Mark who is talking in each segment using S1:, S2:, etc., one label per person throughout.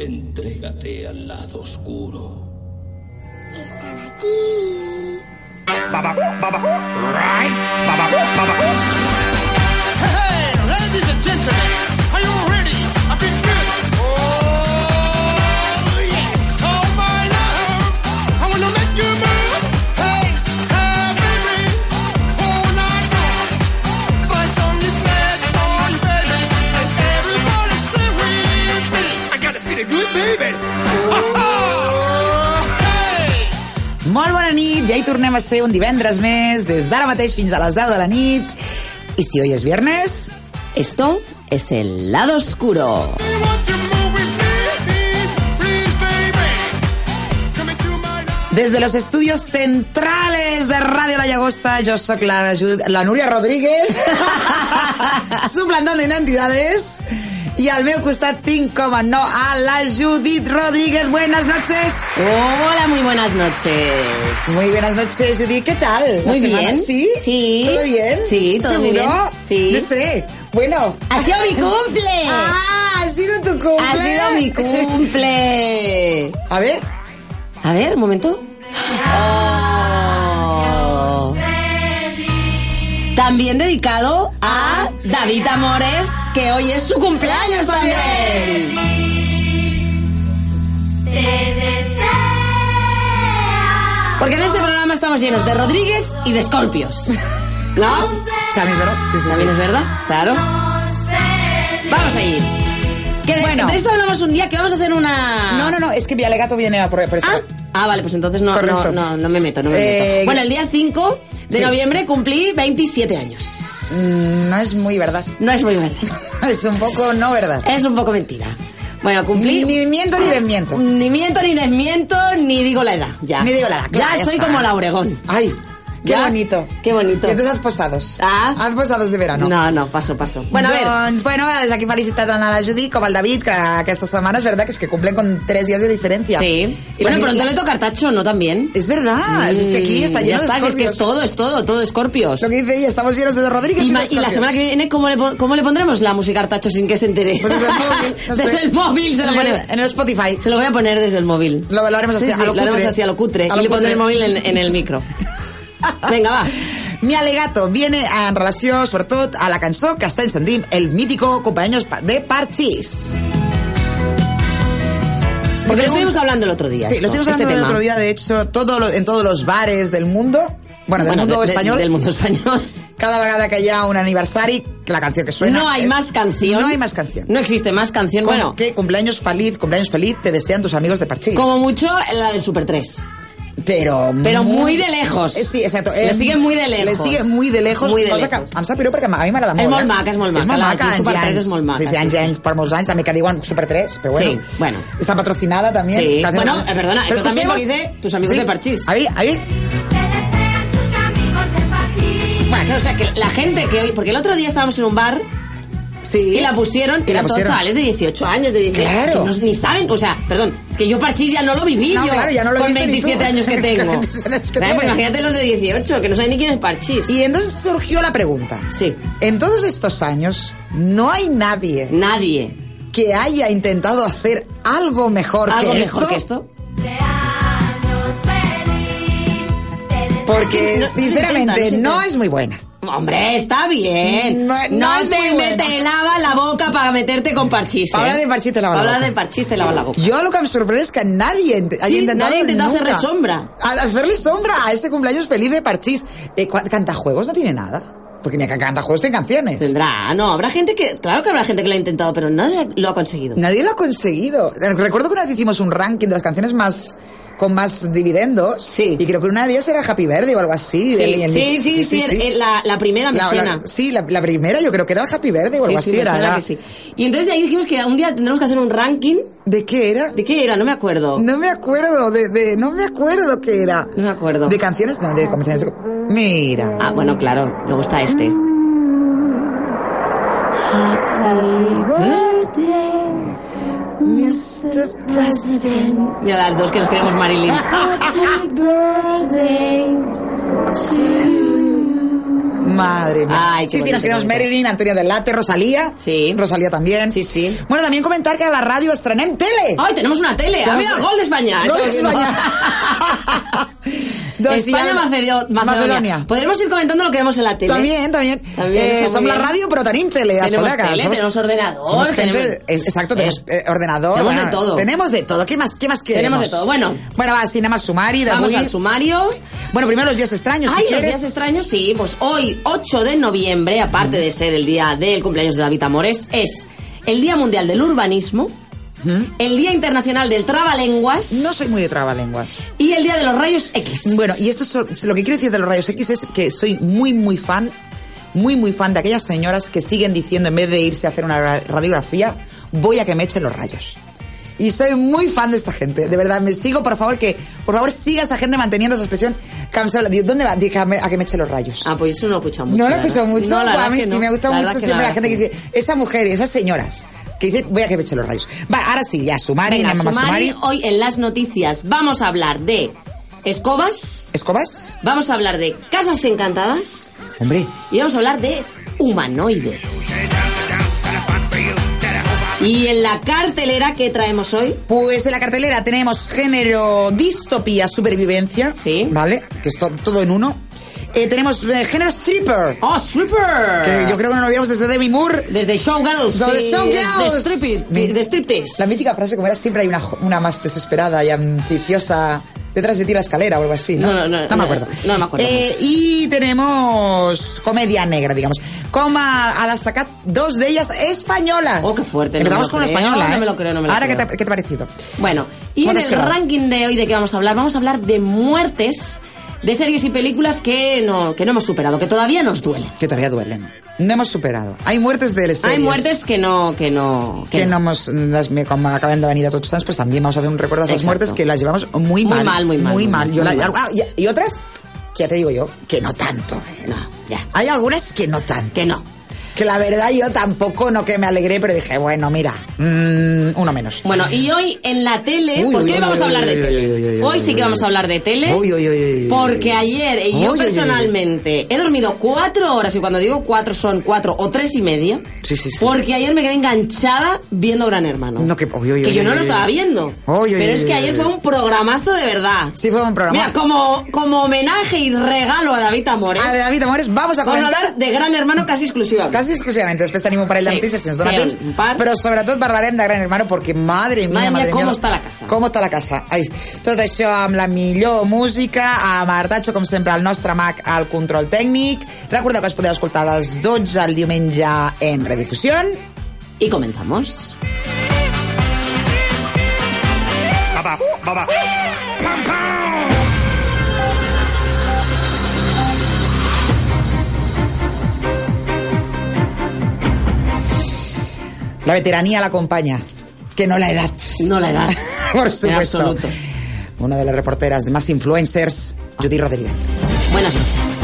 S1: Entrégate al lado oscuro.
S2: Están aquí.
S3: Bababú, bababú, right? Bababú, bababú.
S4: Hey, ladies and gentlemen, are you ready? I feel good. Oh, yes. Oh, my love. I want to make you move. Hey, hey, baby. All night long. Voice on this bed, boy, baby. And everybody sing with me. I got to be the good baby. Oh, hey.
S3: Molt bona nit, ja hi tornem a ser un divendres més, des d'ara mateix fins a les 10 de la nit. I si hoy és viernes...
S5: Esto es el lado oscuro.
S4: You want to move with me? Please, baby. Come into my life.
S3: Des de los estudios centrales de Radio La Llagosta, jo sóc la, Ju- la Núria Rodríguez, suplantando identidades, i al meu costat tinc, com a no, a la Judit Rodríguez. Buenas noches.
S5: Hola, muy buenas noches.
S3: Muy buenas noches, Judith. ¿Qué tal?
S5: Muy
S3: ¿La semana?
S5: bien.
S3: ¿Sí?
S5: Sí.
S3: ¿Todo bien?
S5: Sí, todo muy
S3: ¿Seguro?
S5: bien. Sí.
S3: No sé. Bueno.
S5: ¡Ha sido mi cumple!
S3: ¡Ah! ¡Ha sido tu cumple!
S5: ¡Ha sido mi cumple!
S3: A ver.
S5: A ver, un momento. Oh. También dedicado a David Amores, que hoy es su cumpleaños también. Porque en este programa estamos llenos de Rodríguez y de Escorpios. ¿No?
S3: ¿Sabes, verdad? Sí, sí, sí.
S5: También es verdad, claro. Vamos a ir. Que de,
S3: Bueno.
S5: de esto hablamos un día que vamos a hacer una.
S3: No, no, no. Es que Vialegato viene a por, por
S5: Ah,
S3: esta-
S5: ah, vale, pues entonces no,
S3: Correcto.
S5: no, no, no me meto, no me
S3: Eh,
S5: meto. Bueno, el día 5 de
S3: sí.
S5: noviembre cumplí 27 años.
S3: Mm, No es muy verdad.
S5: No es muy verdad.
S3: Es un poco no verdad.
S5: Es un poco mentira. Bueno,
S3: Ni,
S5: Eh, cumplí...
S3: ni miento ni desmiento.
S5: Ni miento, ni desmiento, ni digo la edad. Ya.
S3: Ni digo la edad, claro,
S5: Ya,
S3: ya
S5: soy
S3: está.
S5: como la Oregón.
S3: Ay, qué
S5: Ya.
S3: bonito.
S5: Qué bonito.
S3: Y entonces haz posados.
S5: Ah.
S3: Haz posados de verano.
S5: No, no, paso, paso. Bueno, a ver.
S3: Doncs, bueno, des d'aquí felicitant a la Judit com al David, que aquesta setmana és verdad que es que cumplen con tres días de diferencia.
S5: Sí.
S3: Y
S5: Bueno,
S3: la-
S5: pronto le toca a Tacho, ¿no? También.
S3: Es verdad, es que aquí está
S5: Mm,
S3: lleno
S5: ya está,
S3: de
S5: si es que es
S3: escorpios.
S5: todo, es todo, todo escorpios.
S3: Lo que dice ella, estamos llenos de Rodríguez.
S5: Y,
S3: de
S5: ma- y la
S3: escorpios.
S5: semana que viene, ¿cómo le, pon- cómo le pondremos la música al Tacho sin que se entere?
S3: Pues desde el móvil, no sé.
S5: desde el móvil se lo
S3: en,
S5: ponemos.
S3: el, en el Spotify.
S5: Se lo voy a poner desde el móvil.
S3: Lo, lo haremos así,
S5: Sí,
S3: a
S5: sí,
S3: lo
S5: lo haremos
S3: cutre.
S5: así a lo cutre.
S3: A
S5: y
S3: lo
S5: le
S3: cutre.
S5: pondré el móvil en, en el micro. Venga, va.
S3: Mi alegato viene en relació, sobretot, a la cançó que està encendint el mítico Compañeros pa- de Parchís.
S5: Porque lo estuvimos
S3: pregunta-
S5: hablando el otro día.
S3: Sí,
S5: esto,
S3: lo estuvimos
S5: este
S3: hablando el
S5: tema.
S3: otro día, de hecho, todo lo- en todos los bares del mundo, bueno, del
S5: Bueno,
S3: mundo
S5: de- de-
S3: espanyol,
S5: del mundo español.
S3: cada vegada que hi ha un aniversari, la canció que suena...
S5: no hay
S3: es-
S5: más canción.
S3: No hay más canción.
S5: No existe más canción.
S3: Con-
S5: bueno,
S3: que cumpleaños feliz, cumpleaños feliz, te desean tus amigos de Parchís.
S5: como mucho la del Super 3.
S3: Pero,
S5: Pero muy de lejos.
S3: Eh, Sí, exacto.
S5: Le
S3: Eh,
S5: sigue muy de lejos.
S3: Le sigue muy de lejos.
S5: Muy de
S3: cosa
S5: lejos.
S3: Que em sap greu perquè a mi m'agrada molt.
S5: És molt
S3: eh?
S5: maca, és molt maca.
S3: És molt
S5: La
S3: maca,
S5: del
S3: anys
S5: Super
S3: i
S5: 3
S3: anys.
S5: és molt maca,
S3: Sí, sí,
S5: sí,
S3: anys, i
S5: sí.
S3: anys per molts anys, també que diuen Super 3, però bueno.
S5: Sí, bueno.
S3: Està patrocinada també.
S5: Sí,
S3: Que hace-
S5: bueno, es verdad,
S3: Pero
S5: esto también lo
S3: escuchemos-
S5: dice tus amigos
S3: Sí.
S5: de Parchís.
S3: A ver, a ver.
S5: Bueno, o sea, que la gente que hoy... Porque el otro día estábamos en un bar
S3: Sí.
S5: Y la pusieron,
S3: Y
S5: y
S3: la
S5: eran todos
S3: pusieron.
S5: chavales de 18 años, de 18,
S3: Claro.
S5: que no, ni saben, o sea, perdón, es que yo parchís ya no lo viví
S3: No,
S5: yo
S3: claro, ya no lo
S5: con
S3: viste ni
S5: 27
S3: tú.
S5: años que
S3: Con
S5: tengo.
S3: 27 años que
S5: Claro,
S3: tienes.
S5: pues imagínate los de 18, que no saben ni quién es parchís.
S3: Y entonces surgió la pregunta.
S5: Sí.
S3: En todos estos años, no hay nadie
S5: Nadie.
S3: que haya intentado hacer algo mejor
S5: ¿Algo
S3: que
S5: mejor
S3: esto.
S5: que esto?
S3: Porque,
S5: Es que no- no se
S3: sinceramente,
S5: intenta, no se
S3: no
S5: intenta.
S3: es muy buena.
S5: Hombre, está bien.
S3: No-
S5: No,
S3: no es muy
S5: te,
S3: bueno.
S5: me- te lava la boca para meterte con parchís.
S3: Habla de parchís, te lava la boca.
S5: Habla de parchís, te lava la boca.
S3: Yo lo que me sorprende es que nadie ent- haya intentado,
S5: nadie ha intentado
S3: nunca
S5: hacerle sombra.
S3: A hacerle sombra a ese cumpleaños feliz de Parchís. Eh, cua- cantajuegos no tiene nada. Porque ni a cantajuegos tiene canciones.
S5: Tendrá, no, habrá gente que, claro que habrá gente que lo ha intentado, pero nadie lo ha conseguido.
S3: Nadie lo ha conseguido. Eh, Recuerdo que una vez hicimos un ranking de las canciones más con más dividendos.
S5: Sí.
S3: Y creo que una de ellas era Happy Verde o algo así.
S5: Sí,
S3: del-
S5: sí,
S3: el-
S5: sí, sí, eh, La, la primera me
S3: La- la-
S5: suena.
S3: sí, la, la primera yo creo que era el Happy Verde o algo
S5: sí,
S3: así.
S5: me
S3: era,
S5: suena
S3: era-
S5: que sí. Y entonces de ahí dijimos que un día tendremos que hacer un ranking.
S3: ¿De qué era?
S5: ¿De qué era? No me acuerdo.
S3: No me acuerdo, de, de- no me acuerdo qué era.
S5: No me acuerdo.
S3: De canciones, no, de canciones. de- Mira.
S5: Ah, bueno, claro, me gusta este.
S3: ¿Eh? Mr. President.
S5: Mira las dos que nos queremos Marilyn.
S3: Madre mía.
S5: Ay, qué
S3: sí, sí,
S5: bonito,
S3: nos
S5: qué
S3: quedamos
S5: bonito.
S3: Marilyn, Antonio del Latte, Rosalía.
S5: Sí.
S3: Rosalía también.
S5: Sí, sí.
S3: Bueno, también comentar que a la radio estrenem tele.
S5: ¡Ay, tenemos una tele! ¡Ha
S3: Somos-
S5: habido gol de España!
S3: Gol de
S5: Estoy
S3: España.
S5: viendo.
S3: Doncs
S5: España,
S3: ja-
S5: Macedo- Macedonia.
S3: Macedonia.
S5: Podremos ir comentando lo que vemos en la tele.
S3: También, también.
S5: También está muy
S3: som la
S5: bien.
S3: radio, pero tenim tele.
S5: Tenemos
S3: Espadaca.
S5: tele, tenemos ordenador,
S3: somos gente-
S5: tenemos-
S3: es- exacto,
S5: Eh,
S3: tenemos eh, ordenador.
S5: tenemos
S3: bueno,
S5: de todo.
S3: Tenemos de todo. ¿Qué más, qué más queremos?
S5: Tenemos de todo, bueno.
S3: Bueno, va, cinema sumari. De
S5: Vamos
S3: avui.
S5: al sumario.
S3: Bueno, primero los días extraños,
S5: Ay,
S3: si
S5: los
S3: quieres.
S5: días extraños, sí. Pues hoy, 8 de noviembre, aparte de ser el día del cumpleaños de David Amores, es el Día Mundial del Urbanismo, el Día Internacional del Trabalenguas
S3: No soy muy de trabalenguas.
S5: y el Día de los Rayos X.
S3: Bueno, y esto es lo que quiero decir de los rayos X es que soy muy, muy fan, muy, muy fan de aquellas señoras que siguen diciendo en vez de irse a hacer una ra- radiografía, voy a que me echen los rayos. Y soy muy fan de esta gente, de verdad, me sigo, por favor, que, por favor, siga esa gente manteniendo esa expresión. Cansado, digo, ¿Dónde va? Digo, A, me- a que me echen los rayos.
S5: Ah, pues eso no lo he escuchado mucho.
S3: no lo he
S5: la
S3: escuchado
S5: verdad.
S3: mucho,
S5: No, la
S3: a
S5: verdad
S3: mí
S5: que
S3: sí
S5: no.
S3: me gusta
S5: La
S3: mucho
S5: verdad
S3: siempre la,
S5: verdad
S3: gente que dice, esas mujeres, esas señoras, que dicen, voy a que me echen los rayos. Va, ahora sí, ya, sumari,
S5: Venga,
S3: nada más
S5: Sumari,
S3: sumari.
S5: hoy en las noticias vamos a hablar de escobas,
S3: ¿Escobas?
S5: vamos a hablar de casas encantadas
S3: Hombre,
S5: y vamos a hablar de humanoides. Y en la cartelera que traemos hoy,
S3: Pues en la cartelera tenemos género distopía, supervivencia.
S5: Sí.
S3: ¿Vale? Que es to- todo en uno. Eh, tenemos eh, género stripper.
S5: ¡Oh, stripper!
S3: Que yo creo que no lo veíamos desde Demi Moore.
S5: Desde Showgirls.
S3: Lo de
S5: sí,
S3: Showgirls.
S5: Desde striptease.
S3: Mi-
S5: De striptease.
S3: La mítica frase como era siempre hay una, jo- una más desesperada y ambiciosa detrás de ti la escalera o algo así, ¿no?
S5: No, no, no,
S3: me
S5: no,
S3: acuerdo.
S5: no me acuerdo.
S3: Eh, y tenemos comedia negra, digamos. Coma a destacar dos de ellas españolas.
S5: Oh, qué fuerte, no
S3: Empezamos
S5: me lo
S3: con la
S5: creo,
S3: española,
S5: no
S3: ¿eh?
S5: me lo creo, no me lo
S3: Ahora, ¿qué
S5: creo.
S3: te, qué te ha parecido?
S5: Bueno, y
S3: Bueno,
S5: en
S3: es
S5: el
S3: que va.
S5: ranking de hoy de qué vamos a hablar, vamos a hablar de muertes de series y películas que no, que no hemos superado, que todavía nos duelen.
S3: que todavía duelen. No hemos superado. Hay muertes de series.
S5: Hay muertes que no, que no,
S3: que no hemos, mm, las- me- como acaban de venir a Tots Sants, pues también vamos a hacer un recuerdo a esas
S5: Exacto.
S3: muertes que las llevamos muy
S5: Muy
S3: mal.
S5: mal, muy mal, muy mal,
S3: Yo
S5: muy
S3: la-
S5: mal.
S3: ah, y, y otras, que ya te digo yo, que no tanto. ¿eh?
S5: No, ya.
S3: Hay algunas que no tanto.
S5: Que no.
S3: Que la verdad yo tampoco, no que me alegré, pero dije, bueno, mira, mm, uno menos.
S5: Bueno, y hoy en la tele,
S3: Uy,
S5: porque
S3: uy,
S5: hoy vamos
S3: uy,
S5: a hablar de
S3: uy, uy, uy,
S5: tele.
S3: uy,
S5: Hoy sí
S3: uy,
S5: que
S3: uy,
S5: vamos a
S3: uy.
S5: hablar de tele.
S3: Uy, uy, uy, uy, uy, uy.
S5: Porque ayer eh, yo
S3: Uy, uy, uy, uy.
S5: personalmente he dormido cuatro horas y cuando digo cuatro son cuatro o tres y media.
S3: Sí, sí, sí.
S5: Porque ayer me quedé enganchada viendo Gran Hermano.
S3: No, que- uy, uy,
S5: Que
S3: uy,
S5: yo
S3: uy,
S5: no
S3: uy,
S5: lo
S3: uy.
S5: estaba viendo.
S3: Uy, uy,
S5: Pero
S3: uy,
S5: es
S3: uy,
S5: que ayer
S3: uy.
S5: fue un programazo de verdad.
S3: Sí, fue un programa.
S5: Mira, como, como homenaje y regalo a David Amores,
S3: A David Amores, vamos a
S5: vamos a
S3: comentar.
S5: hablar de Gran Hermano casi exclusivamente.
S3: Ah, Casi exclusivament. Després tenim un parell de
S5: Sí,
S3: notícies, si ens dona
S5: sí,
S3: temps.
S5: un par.
S3: Però sobretot parlarem de Gran Hermano, perquè, madre mia,
S5: Madre mia,
S3: madre
S5: com
S3: mia,
S5: està la casa.
S3: Com està la casa. Ai, tot això amb la millor música, amb Artacho, com sempre, el nostre mag al control tècnic. Recordeu que es podeu escoltar a les 12 el diumenge en redifusió.
S5: Y comenzamos.
S3: La veterania l'acompanya, que no la edad.
S5: No la edad.
S3: Por
S5: En
S3: supuesto.
S5: absoluto.
S3: Una de las reporteras de más influencers, Judy Rodríguez.
S5: Buenas noches.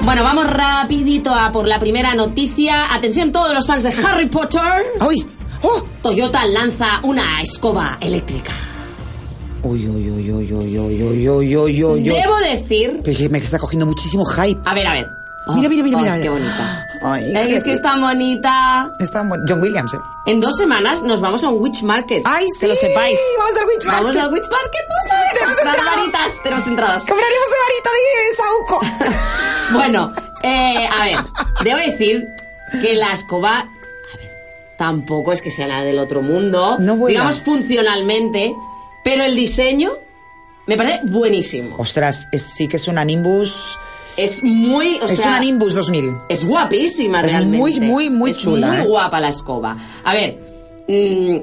S5: Bueno, vamos rapidito a por la primera noticia. Atención todos los fans de Harry Potter.
S3: ¡Ay! ¡Oh!
S5: Toyota lanza una escoba eléctrica.
S3: Uy, uy, uy, uy, uy, uy, uy, uy, uy, uy, uy.
S5: Debo decir...
S3: Pero es que Pues, eh, me está cogiendo muchísimo hype.
S5: A ver, a ver.
S3: Mira, mira, mira,
S5: ay,
S3: mira.
S5: Qué bonita.
S3: Ay,
S5: Ay, es que es tan bonita.
S3: Está bueno. John Williams, ¿eh?
S5: En dos semanas nos vamos a un witch market.
S3: ¡Ay, sí!
S5: Que lo sepáis.
S3: ¡Vamos al witch
S5: Vamos
S3: market!
S5: al witch market.
S3: ¡Tenemos
S5: Comprar
S3: entradas!
S5: varitas. Tenemos entradas.
S3: ¡Compraremos de varita de Sauco!
S5: Bueno, eh, a ver, debo decir que la escoba, a ver, tampoco es que sea nada del otro mundo,
S3: No vuela.
S5: digamos funcionalmente, pero el diseño me parece buenísimo.
S3: Ostras, es- sí que es una Nimbus...
S5: Es muy, o
S3: es
S5: sea,
S3: una Nimbus 2000.
S5: es guapísima
S3: Es
S5: realmente.
S3: muy, muy, muy
S5: Es
S3: chula,
S5: muy
S3: ¿eh?
S5: guapa la escoba. A ver, mm,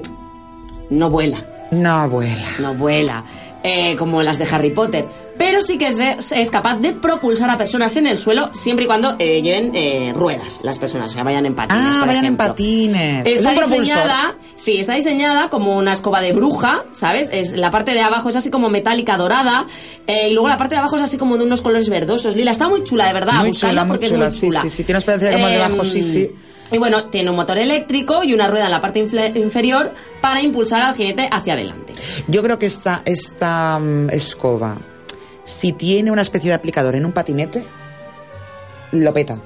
S5: no vuela,
S3: No, abuela.
S5: no vuela, eh, como las de Harry Potter. Pero sí que es, es capaz de propulsar a personas en el suelo siempre y cuando eh, lleven eh, ruedas las personas, o sea, vayan en patines.
S3: Ah,
S5: por
S3: vayan en
S5: ejemplo.
S3: patines. Es
S5: Está
S3: un propulsor.
S5: diseñada, sí, está diseñada como una escoba de bruja, ¿sabes? Es, la parte de abajo es así como metálica dorada eh, y luego la parte de abajo es así como de unos colores verdosos. Lila, está muy chula, de verdad,
S3: Muy
S5: buscadla
S3: chula, muy
S5: porque
S3: chula,
S5: es
S3: sí,
S5: muy chula. Em,
S3: sí, sí, tiene experiencia como de abajo, sí, sí.
S5: Y bueno, tiene un motor eléctrico y una rueda en la parte infle- inferior para impulsar al jinete hacia adelante.
S3: Yo creo que esta, esta mm, escoba, si tiene una especie de aplicador en un patinete, lo peta.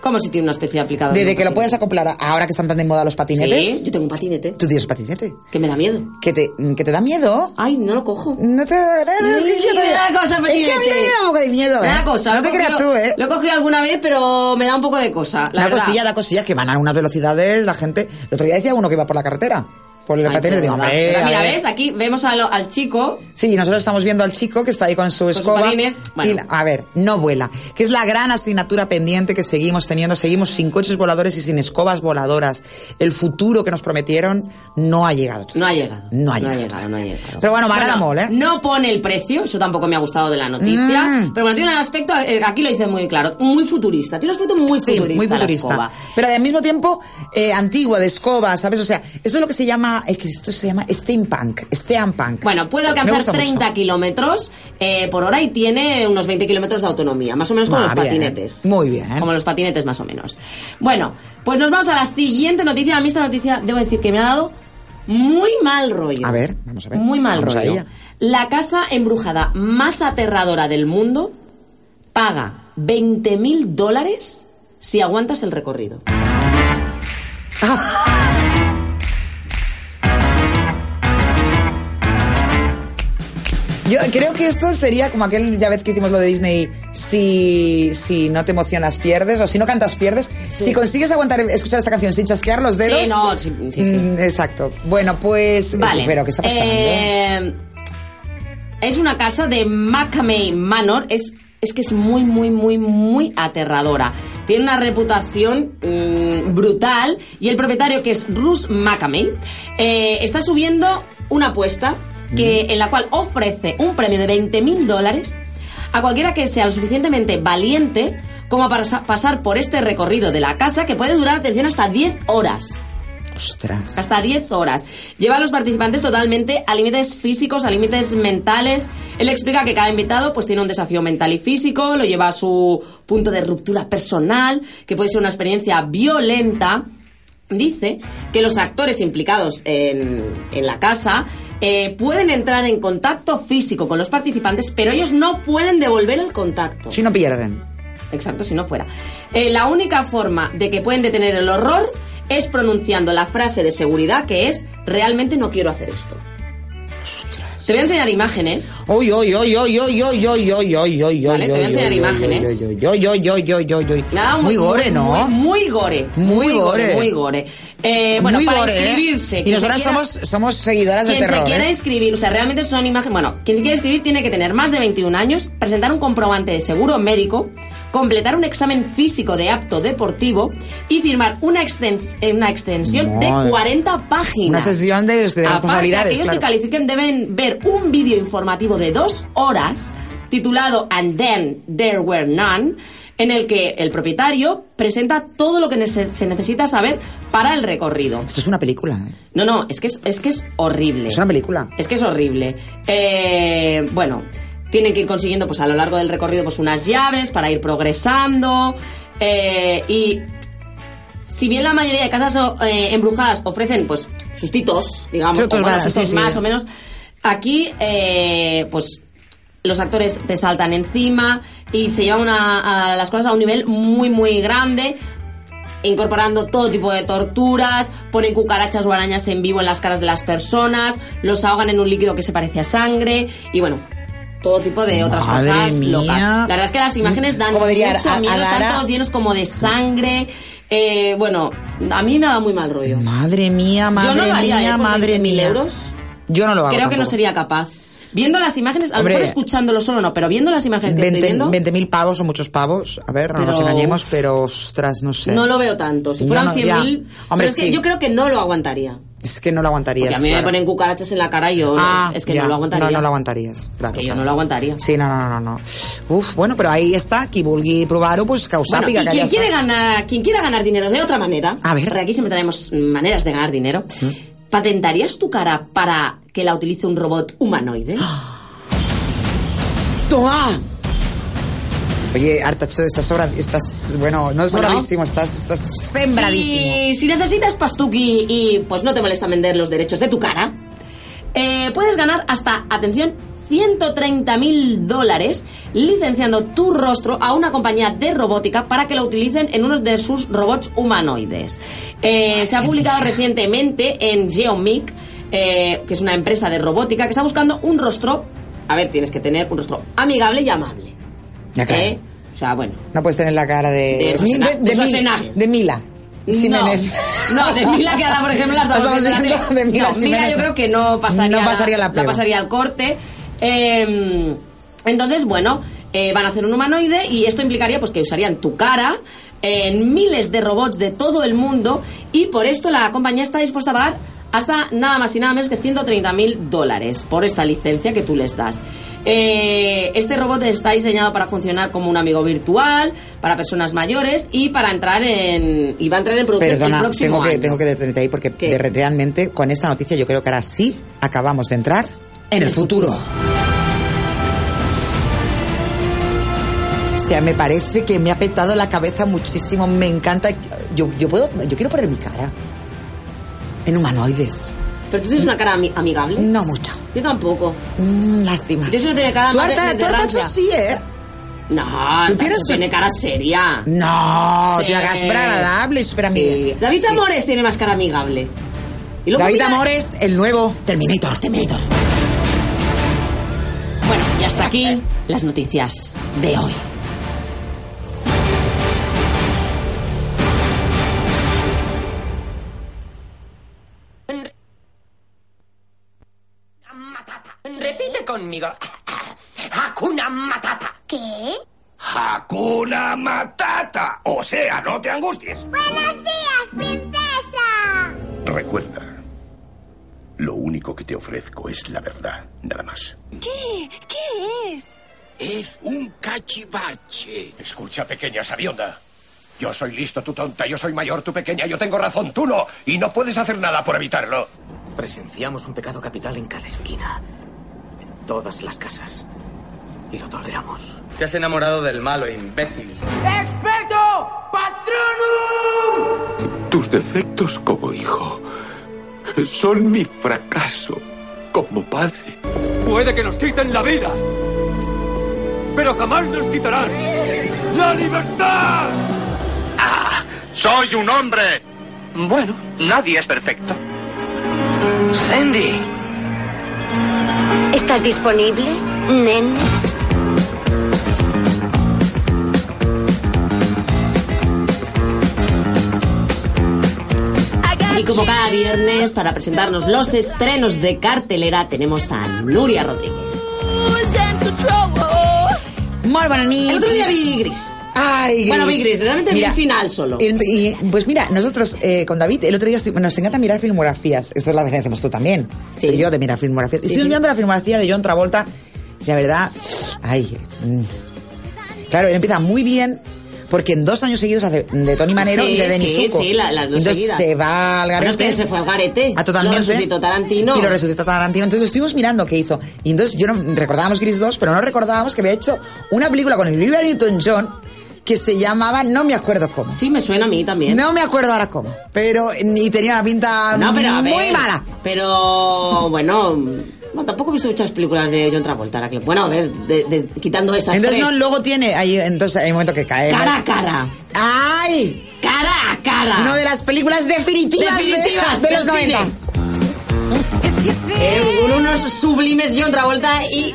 S5: ¿Cómo si tiene una especie de aplicador?
S3: Desde
S5: Ah, ¿Un
S3: que lo puedes
S5: patinete?
S3: acoplar a- ahora que están tan de moda los patinetes,
S5: Sí, yo tengo un patinete.
S3: tú tienes patinete.
S5: Que me da miedo.
S3: ¿Que te, mm, que te da miedo?
S5: Ay, no lo cojo.
S3: No te da es que, yo
S5: Sí, me da cosa,
S3: es que a mí
S5: patinete.
S3: también me da un poco de miedo,
S5: Me
S3: ¿eh?
S5: da cosa.
S3: No
S5: lo
S3: te
S5: he
S3: creas
S5: cogido-
S3: tú, ¿eh?
S5: Lo he cogido alguna vez, pero me da un poco de cosa. La
S3: da
S5: verdad.
S3: cosilla, da cosilla, que van a unas velocidades, la gente... El otro día decía uno que iba por la carretera, por el
S5: Ay,
S3: patinete,
S5: qué
S3: digo,
S5: verdad.
S3: hombre,
S5: Pero
S3: a
S5: mira,
S3: ver.
S5: ves, aquí vemos a lo- al chico.
S3: Sí, nosotros estamos viendo al chico que está ahí con su
S5: sus
S3: escoba.
S5: patines. Bueno.
S3: y la- a ver, no vuela. Que es la gran asignatura pendiente que seguimos teniendo. Seguimos sin coches voladores y sin escobas voladoras. El futuro que nos prometieron no ha llegado.
S5: No ha llegado.
S3: No ha llegado.
S5: no ha llegado.
S3: Pero bueno, Marana Mall, ¿eh?
S5: No pone el precio, eso tampoco me ha gustado de la noticia.
S3: Mm.
S5: Pero bueno, tiene un aspecto, eh, aquí lo dice muy claro, muy futurista. Tiene un aspecto muy
S3: Sí,
S5: futurista.
S3: muy
S5: la
S3: futurista.
S5: escoba.
S3: Pero al mismo tiempo, eh, antigua, de escoba, ¿sabes? O sea, eso es lo que se llama, es que esto se llama steampunk, steampunk.
S5: Bueno, puede
S3: Me
S5: alcanzar
S3: gusta mucho.
S5: 30 kilómetros eh, por hora y tiene unos 20 kilómetros de autonomía, más o menos como
S3: Ah,
S5: los
S3: bien.
S5: patinetes.
S3: Muy bien.
S5: Como los patinetes, más o menos. Bueno, pues nos vamos a la siguiente noticia. A mí esta noticia, debo decir que me ha dado muy mal rollo.
S3: A ver, vamos a ver.
S5: Muy mal
S3: Vamos a
S5: rollo.
S3: ella.
S5: La casa embrujada más aterradora del mundo paga 20 mil dólares si aguantas el recorrido.
S3: Yo creo que esto sería como aquel, ya vez que hicimos lo de Disney, si, si no te emocionas pierdes, o si no cantas pierdes. Si consigues aguantar, escuchar esta canción sin chasquear los dedos.
S5: Sí, no, sí, sí, sí.
S3: Mm, exacto. Bueno, pues...
S5: Vale.
S3: Pero, ¿qué está pasando?
S5: Eh, es una casa de Macamey Manor. Es, es que es muy, muy, muy, muy aterradora. Tiene una reputación mm, brutal. Y el propietario, que es Rus Macamey, eh, está subiendo una apuesta que, en la cual ofrece un premio de 20 mil dólares a cualquiera que sea lo suficientemente valiente como para sa- pasar por este recorrido de la casa que puede durar, atención, hasta 10 horas
S3: Ostras.
S5: hasta 10 horas. Lleva a los participantes totalmente a límites físicos, a límites mentales. Él explica que cada invitado pues tiene un desafío mental y físico, lo lleva a su punto de ruptura personal, que puede ser una experiencia violenta. Dice que los actores implicados en, en la casa eh, pueden entrar en contacto físico con los participantes, pero ellos no pueden devolver el contacto.
S3: Si no pierden.
S5: Exacto, si no fuera. Eh, la única forma de que pueden detener el horror es pronunciando la frase de seguridad que es realmente no quiero hacer esto. Te voy a enseñar imágenes.
S3: Oy, oy, oy, oy, oy, oy, oy, oy, oy, oy,
S5: Vale, te voy a
S3: oy,
S5: enseñar
S3: oy,
S5: imágenes.
S3: oy, oy, oy, oy, oy, oy, oy.
S5: Nada,
S3: Muy gore, ¿no?
S5: Muy, muy gore.
S3: Muy gore.
S5: Muy gore. Eh, bueno,
S3: Muy
S5: para
S3: gore, ¿eh?
S5: inscribirse.
S3: Y
S5: quien se
S3: nosotras
S5: quiera-
S3: somos, somos seguidoras de
S5: Quien
S3: terror.
S5: se quiera
S3: ¿eh?
S5: inscribir, o sea, realmente son imágenes. Bueno, quien se quiera inscribir tiene que tener más de 21 años, presentar un comprobante de seguro médico, completar un examen físico de apto deportivo y firmar una, exten- eh, una extensión
S3: Madre.
S5: de 40
S3: Una
S5: páginas.
S3: sesión de, de
S5: Aparte,
S3: responsabilidades,
S5: aquellos
S3: claro.
S5: que califiquen deben ver un vídeo informativo de dos horas titulado And Then There Were None, en el que el propietario presenta todo lo que nece- se necesita saber para el recorrido.
S3: Esto es una película, ¿eh?
S5: No, no, es que es, es que es horrible.
S3: Es una película.
S5: Es que es horrible. Eh, bueno, tienen que ir consiguiendo pues a lo largo del recorrido pues unas llaves para ir progresando. eh, y si bien la mayoría de casas o- eh, embrujadas ofrecen pues sustitos, digamos,
S3: Sustitos
S5: o bueno,
S3: baratos,
S5: sustitos
S3: sí, sí.
S5: más o menos, aquí eh, pues los actores te saltan encima y se llevan una- a las cosas a un nivel muy muy grande incorporando todo tipo de torturas, ponen cucarachas o arañas en vivo en las caras de las personas, los ahogan en un líquido que se parece a sangre y bueno, todo tipo de otras
S3: Madre
S5: cosas locas.
S3: mía.
S5: La verdad es que las imágenes dan
S3: Como diría
S5: mucho
S3: Ara-
S5: miedo,
S3: Adara-
S5: están todos llenos como de sangre. eh, bueno, a mí me ha dado muy mal rollo.
S3: Madre mía, madre
S5: no lo haría,
S3: mía,
S5: ¿eh? Por
S3: madre
S5: 20.000
S3: mía.
S5: euros.
S3: Yo no lo hago.
S5: Creo que no
S3: tampoco.
S5: sería capaz. Viendo las imágenes, a lo
S3: Hombre.
S5: mejor escuchándolo solo no, pero viendo las imágenes que estoy
S3: 20
S5: viendo,
S3: 20.000 pavos o muchos pavos. A ver, no nos
S5: Pero-
S3: engañemos, pero ostras, no sé.
S5: no lo veo tanto. Si
S3: No,
S5: fueran
S3: no, ya.
S5: 100.000,
S3: Hombre,
S5: pero es
S3: sí.
S5: que yo creo que no lo aguantaría.
S3: Es que no lo aguantarías.
S5: Porque a mí me
S3: claro.
S5: ponen cucarachas en la cara y yo
S3: Ah,
S5: es que
S3: ya.
S5: no lo aguantaría.
S3: No, no lo aguantarías.
S5: Es
S3: Claro,
S5: que yo
S3: claro.
S5: no lo aguantaría.
S3: Sí, no, no, no, no. Uf, bueno, pero ahí está, qui vulgui provar-ho, pues
S5: Bueno,
S3: causàpiga.
S5: y
S3: que
S5: quien,
S3: ja
S5: quiere
S3: està.
S5: ganar, quien quiera ganar dinero de otra manera,
S3: A ver. Mm.
S5: porque aquí siempre tenemos maneras de ganar dinero, ¿patentarías tu cara para que la utilice un robot humanoide?
S3: ¡Ah! ¡Toma! Oye, Arta, estás sobra... Estás, bueno, no es
S5: Bueno.
S3: sobradísimo, estás, estás sembradísimo.
S5: Si, si necesitas pastuki y pues no te molesta vender los derechos de tu cara, eh, puedes ganar hasta, atención, 130 mil dólares licenciando tu rostro a una compañía de robótica para que lo utilicen en uno de sus robots humanoides. Eh, se ha publicado recientemente en Geomic, eh, que es una empresa de robótica, que está buscando un rostro. A ver, tienes que tener un rostro amigable y amable.
S3: Ya, claro.
S5: ¿eh? O sea, bueno.
S3: No puedes tener la cara de...
S5: De Schwarzenegger.
S3: de, Mil-
S5: De Schwarzenegger.
S3: de Mila. Jiménez.
S5: No, no, de Mila que ahora, por ejemplo, las damos
S3: Estamos
S5: en la
S3: diciendo
S5: tele.
S3: de Mila
S5: No, Mila
S3: Jiménez.
S5: yo creo que no pasaría,
S3: No pasaría la prueba.
S5: pasaría al corte. Eh, entonces, bueno, eh, van a hacer un humanoide y esto implicaría pues que usarían tu cara en miles de robots de todo el mundo y por esto la compañía está dispuesta a pagar hasta nada más y nada menos que 130 mil dólares por esta licencia que tú les das. Eh, este robot está diseñado para funcionar como un amigo virtual, para personas mayores y para entrar en... y va a entrar en producción el
S3: Perdona,
S5: próximo
S3: tengo que,
S5: año.
S3: tengo que detenerte ahí porque
S5: ¿Qué?
S3: de- realmente con esta noticia yo creo que ahora sí acabamos de entrar en el futuro. O sea, me parece que me ha petado la cabeza muchísimo, me encanta. Yo, yo puedo, yo quiero poner mi cara en humanoides.
S5: Pero tú tienes una cara ami- amigable.
S3: No mucho.
S5: Yo tampoco.
S3: Mm, lástima.
S5: Yo solo tenía cara
S3: Tú
S5: más de-
S3: harta-
S5: de- de
S3: tú harta
S5: rancia.
S3: sí, ¿eh?
S5: No,
S3: Tú
S5: tú
S3: tienes-
S5: tiene cara seria.
S3: No,
S5: Sí.
S3: te hagas para agradable, espera
S5: Sí. David Amores tiene más cara amigable. Y luego
S3: David
S5: mira-
S3: Amores, el nuevo Terminator. Terminator.
S5: Bueno, y hasta aquí las noticias de hoy.
S6: Repite conmigo. Hakuna Matata.
S2: ¿Qué?
S7: Hakuna Matata. O sea, no te angusties.
S2: ¡Buenos días, princesa!
S7: Recuerda, lo único que te ofrezco es la verdad, nada más.
S6: Es un cachivache.
S7: Escucha, pequeña sabionda. Yo soy listo, tú tonta. Yo soy mayor, tú pequeña. Yo tengo razón, tú no. Y no puedes hacer nada por evitarlo.
S6: Presenciamos un pecado capital en cada esquina, en todas las casas. Y lo toleramos.
S8: Te has enamorado del malo, imbécil.
S6: ¡Experto Patronum!
S9: Tus defectos como hijo son mi fracaso como padre.
S4: Puede que nos quiten la vida, pero jamás nos quitarán la libertad.
S9: ¡Soy un hombre! Bueno, nadie es perfecto.
S8: Sandy.
S2: ¿Estás disponible, nen?
S5: Y como cada viernes, para presentarnos los estrenos de cartelera, tenemos a Nuria Rodríguez.
S3: Muy buena niña.
S5: El otro día vi Gris.
S3: Ay, Gris.
S5: Bueno, vi Gris, realmente vi el final solo.
S3: el- y, pues mira, nosotros eh, con David, el otro día estu- nos encanta mirar filmografías. Esto es la vez que hacemos tú también.
S5: Sí.
S3: Soy yo de mirar filmografías. Y
S5: Sí,
S3: Estoy
S5: sí.
S3: mirando la filmografía de John Travolta. Y la verdad, ay. mm. Claro, él empieza muy bien. Porque en dos años seguidos hace de Tony Manero
S5: Sí,
S3: y de Denis
S5: sí,
S3: Zuko.
S5: sí, la- las dos
S3: Entonces
S5: seguidas.
S3: se va al
S5: Bueno,
S3: garete.
S5: es que se fue al garete.
S3: Ah, totalmente.
S5: Lo resucitó Tarantino.
S3: Y lo resucitó Tarantino. Entonces lo estuvimos mirando qué hizo. Y entonces yo no recordábamos Gris 2, pero no recordábamos que había hecho una película con Olivia Newton-John que se llamaba No me acuerdo cómo.
S5: Sí, me suena a mí también.
S3: No me acuerdo ahora cómo. Pero y tenía una pinta
S5: No, pero a ver.
S3: muy mala.
S5: Pero bueno, bueno, tampoco he visto muchas películas de John Travolta. ahora que- Bueno, a ver, de- de- quitando esas
S3: Entonces no,
S5: tres.
S3: luego tiene ahí entonces hay un momento que cae. ¿no?
S5: Cara a cara.
S3: ¡Ay!
S5: Cara a cara.
S3: Una de las películas definitivas, de-
S5: Definitivas
S3: de,
S5: del
S3: los 90.
S5: cine. Eh, con unos sublimes John Travolta y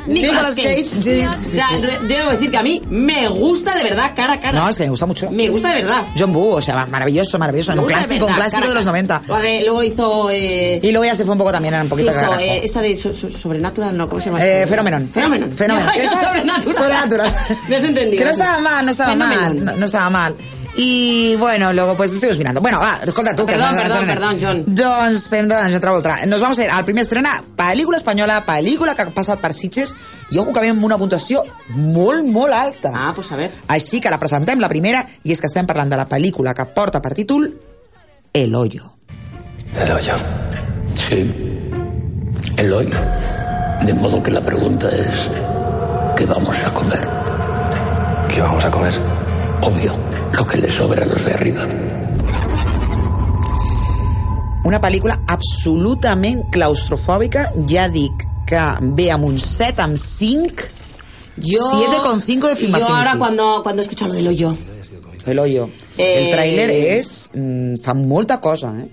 S3: Nicolas
S5: Nicolas Cage.
S3: Cage. Sí, sí,
S5: O sea,
S3: sí.
S5: re- debo decir que a mí me gusta de verdad cara a cara.
S3: No, es que me gusta mucho.
S5: Me gusta de verdad.
S3: John Boo, o sea, maravilloso, maravilloso.
S5: Me
S3: Un
S5: gusta de
S3: clásico, un
S5: verdad,
S3: clásico
S5: cara a
S3: de los
S5: cara.
S3: 90.
S5: Vale, luego hizo... eh,
S3: Y luego ya se fue un poco también, era un poquito
S5: hizo,
S3: carajo.
S5: eh, esta de so- so- Sobrenatural, no, ¿cómo se llama?
S3: Eh, Phenomenon.
S5: Fenomenon.
S3: Fenomenon.
S5: Yo,
S3: Que está-
S5: sobrenatural.
S3: Sobrenatural.
S5: Me has entendido.
S3: Que no estaba mal, no estaba
S5: Phenomenon.
S3: mal. No, no estaba mal. Y bueno, luego pues estuvimos mirando. Bueno, va, escolta tú. que no-
S5: Perdón,
S3: no-
S5: perdón,
S3: no-
S5: perdón, John.
S3: John, perdón, otra volta. Nos vamos a ir al primer estrena, pel·lícula espanyola, pel·lícula que ha passat per Sitges, i ojo que ve amb una puntuació molt, molt alta.
S5: Ah, pues a ver.
S3: Així que la presentem, la primera, i és que estem parlant de la pel·lícula que porta per títol El Hoyo.
S1: El hoyo. Sí. El hoyo. De modo que la pregunta es, ¿qué vamos a comer? ¿Qué vamos a comer? Obvio, lo que le sobra a los de arriba.
S3: Una pel·lícula absolutament claustrofòbica, ja dic, que ve amb un 7, amb 5,
S5: Yo,
S3: 7,5 de Film
S5: Yo ahora
S3: Affinity.
S5: cuando, cuando escucho lo del hoyo.
S3: el hoyo.
S5: Eh,
S3: El tráiler és... Mm, fa molta cosa, eh?